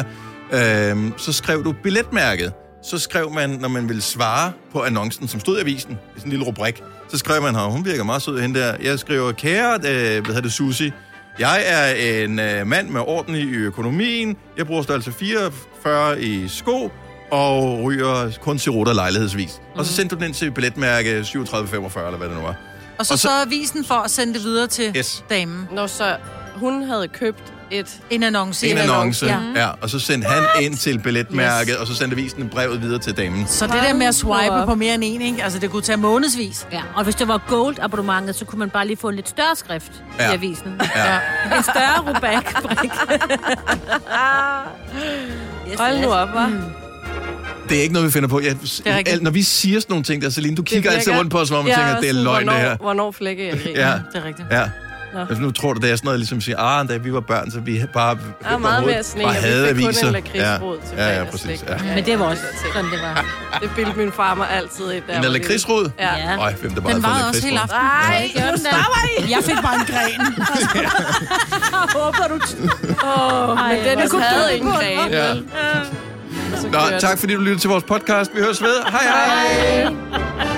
Speaker 1: Øh, så skrev du billetmærket. Så skrev man, når man ville svare på annoncen, som stod i avisen, i sådan en lille rubrik, så skrev man her, hun virker meget sød hende der. Jeg skriver, kære, øh, hvad hedder det, Susi, jeg er en øh, mand med orden i økonomien, jeg bruger størrelse 44 i sko, og ryger kun cirutter lejlighedsvis. Mm. Og så sendte du den ind til billetmærke 3745, eller hvad det nu var.
Speaker 2: Og så,
Speaker 1: Og
Speaker 2: og
Speaker 1: så-
Speaker 2: så sørger avisen for at sende det videre til
Speaker 1: Yes.
Speaker 2: damen.
Speaker 6: Når så hun havde købt et...
Speaker 2: En annonce.
Speaker 1: en annonce, ja.
Speaker 2: Ja.
Speaker 1: ja. Og så sendte han ind til billetmærket, yes. og så sendte avisen brevet videre til damen.
Speaker 2: Så det der med at swipe
Speaker 5: op.
Speaker 2: på mere end en, ikke? Altså, det kunne tage månedsvis.
Speaker 5: Ja, og hvis det var gold abonnementet, så kunne man bare lige få en lidt større skrift ja.
Speaker 1: Ja.
Speaker 5: i avisen.
Speaker 1: Ja.
Speaker 5: En større rubak. yes,
Speaker 6: Hold nu op, hva'?
Speaker 1: Det er ikke noget, vi finder på. Jeg,
Speaker 6: er rigtigt.
Speaker 1: alt, når vi siger sådan nogle ting der, Celine, du kigger altid rundt på os, hvor man
Speaker 6: Ja,
Speaker 1: ja, tænker,
Speaker 6: og
Speaker 1: det er
Speaker 6: sådan,
Speaker 1: løgn, det
Speaker 6: hvornår,
Speaker 1: her.
Speaker 6: Hvornår flække jeg griner.
Speaker 1: Ja.
Speaker 2: Det er rigtigt.
Speaker 1: Ja.
Speaker 6: Nå.
Speaker 1: Altså, nu tror du, det er sådan noget, ligesom at sige, ah, da vi var børn, så vi bare,
Speaker 6: meget
Speaker 1: overhovedet
Speaker 6: mere sne,
Speaker 1: bare
Speaker 6: og vi
Speaker 1: havde
Speaker 6: fik kun en
Speaker 1: aviser.
Speaker 6: lakridsrod til
Speaker 1: ja, ja,
Speaker 6: fredagslik.
Speaker 1: præcis. Ja.
Speaker 5: Men det var også
Speaker 6: sådan,
Speaker 5: det var.
Speaker 6: Det bildte min far mig altid ind. da jeg
Speaker 1: En
Speaker 6: var
Speaker 1: lakridsrod?
Speaker 6: lille. Ja.
Speaker 1: Øj, hvem der bare
Speaker 6: Den
Speaker 1: havde fået
Speaker 6: varede
Speaker 2: Også
Speaker 3: Mm.
Speaker 1: lakridsrod?
Speaker 2: hele aften.
Speaker 6: Nej, gjorde den
Speaker 2: stopper I! Jeg fik bare en gren.
Speaker 5: Håber du...
Speaker 6: Åh, oh, men
Speaker 5: Ej,
Speaker 6: Dennis
Speaker 5: hvor
Speaker 6: havde
Speaker 5: dumt.
Speaker 6: en gren.
Speaker 1: Ja.
Speaker 6: vel? Og så
Speaker 1: Nå,
Speaker 6: kørte
Speaker 1: tak fordi du lyttede til vores podcast. Vi høres ved. Hej, hej.
Speaker 6: Hej.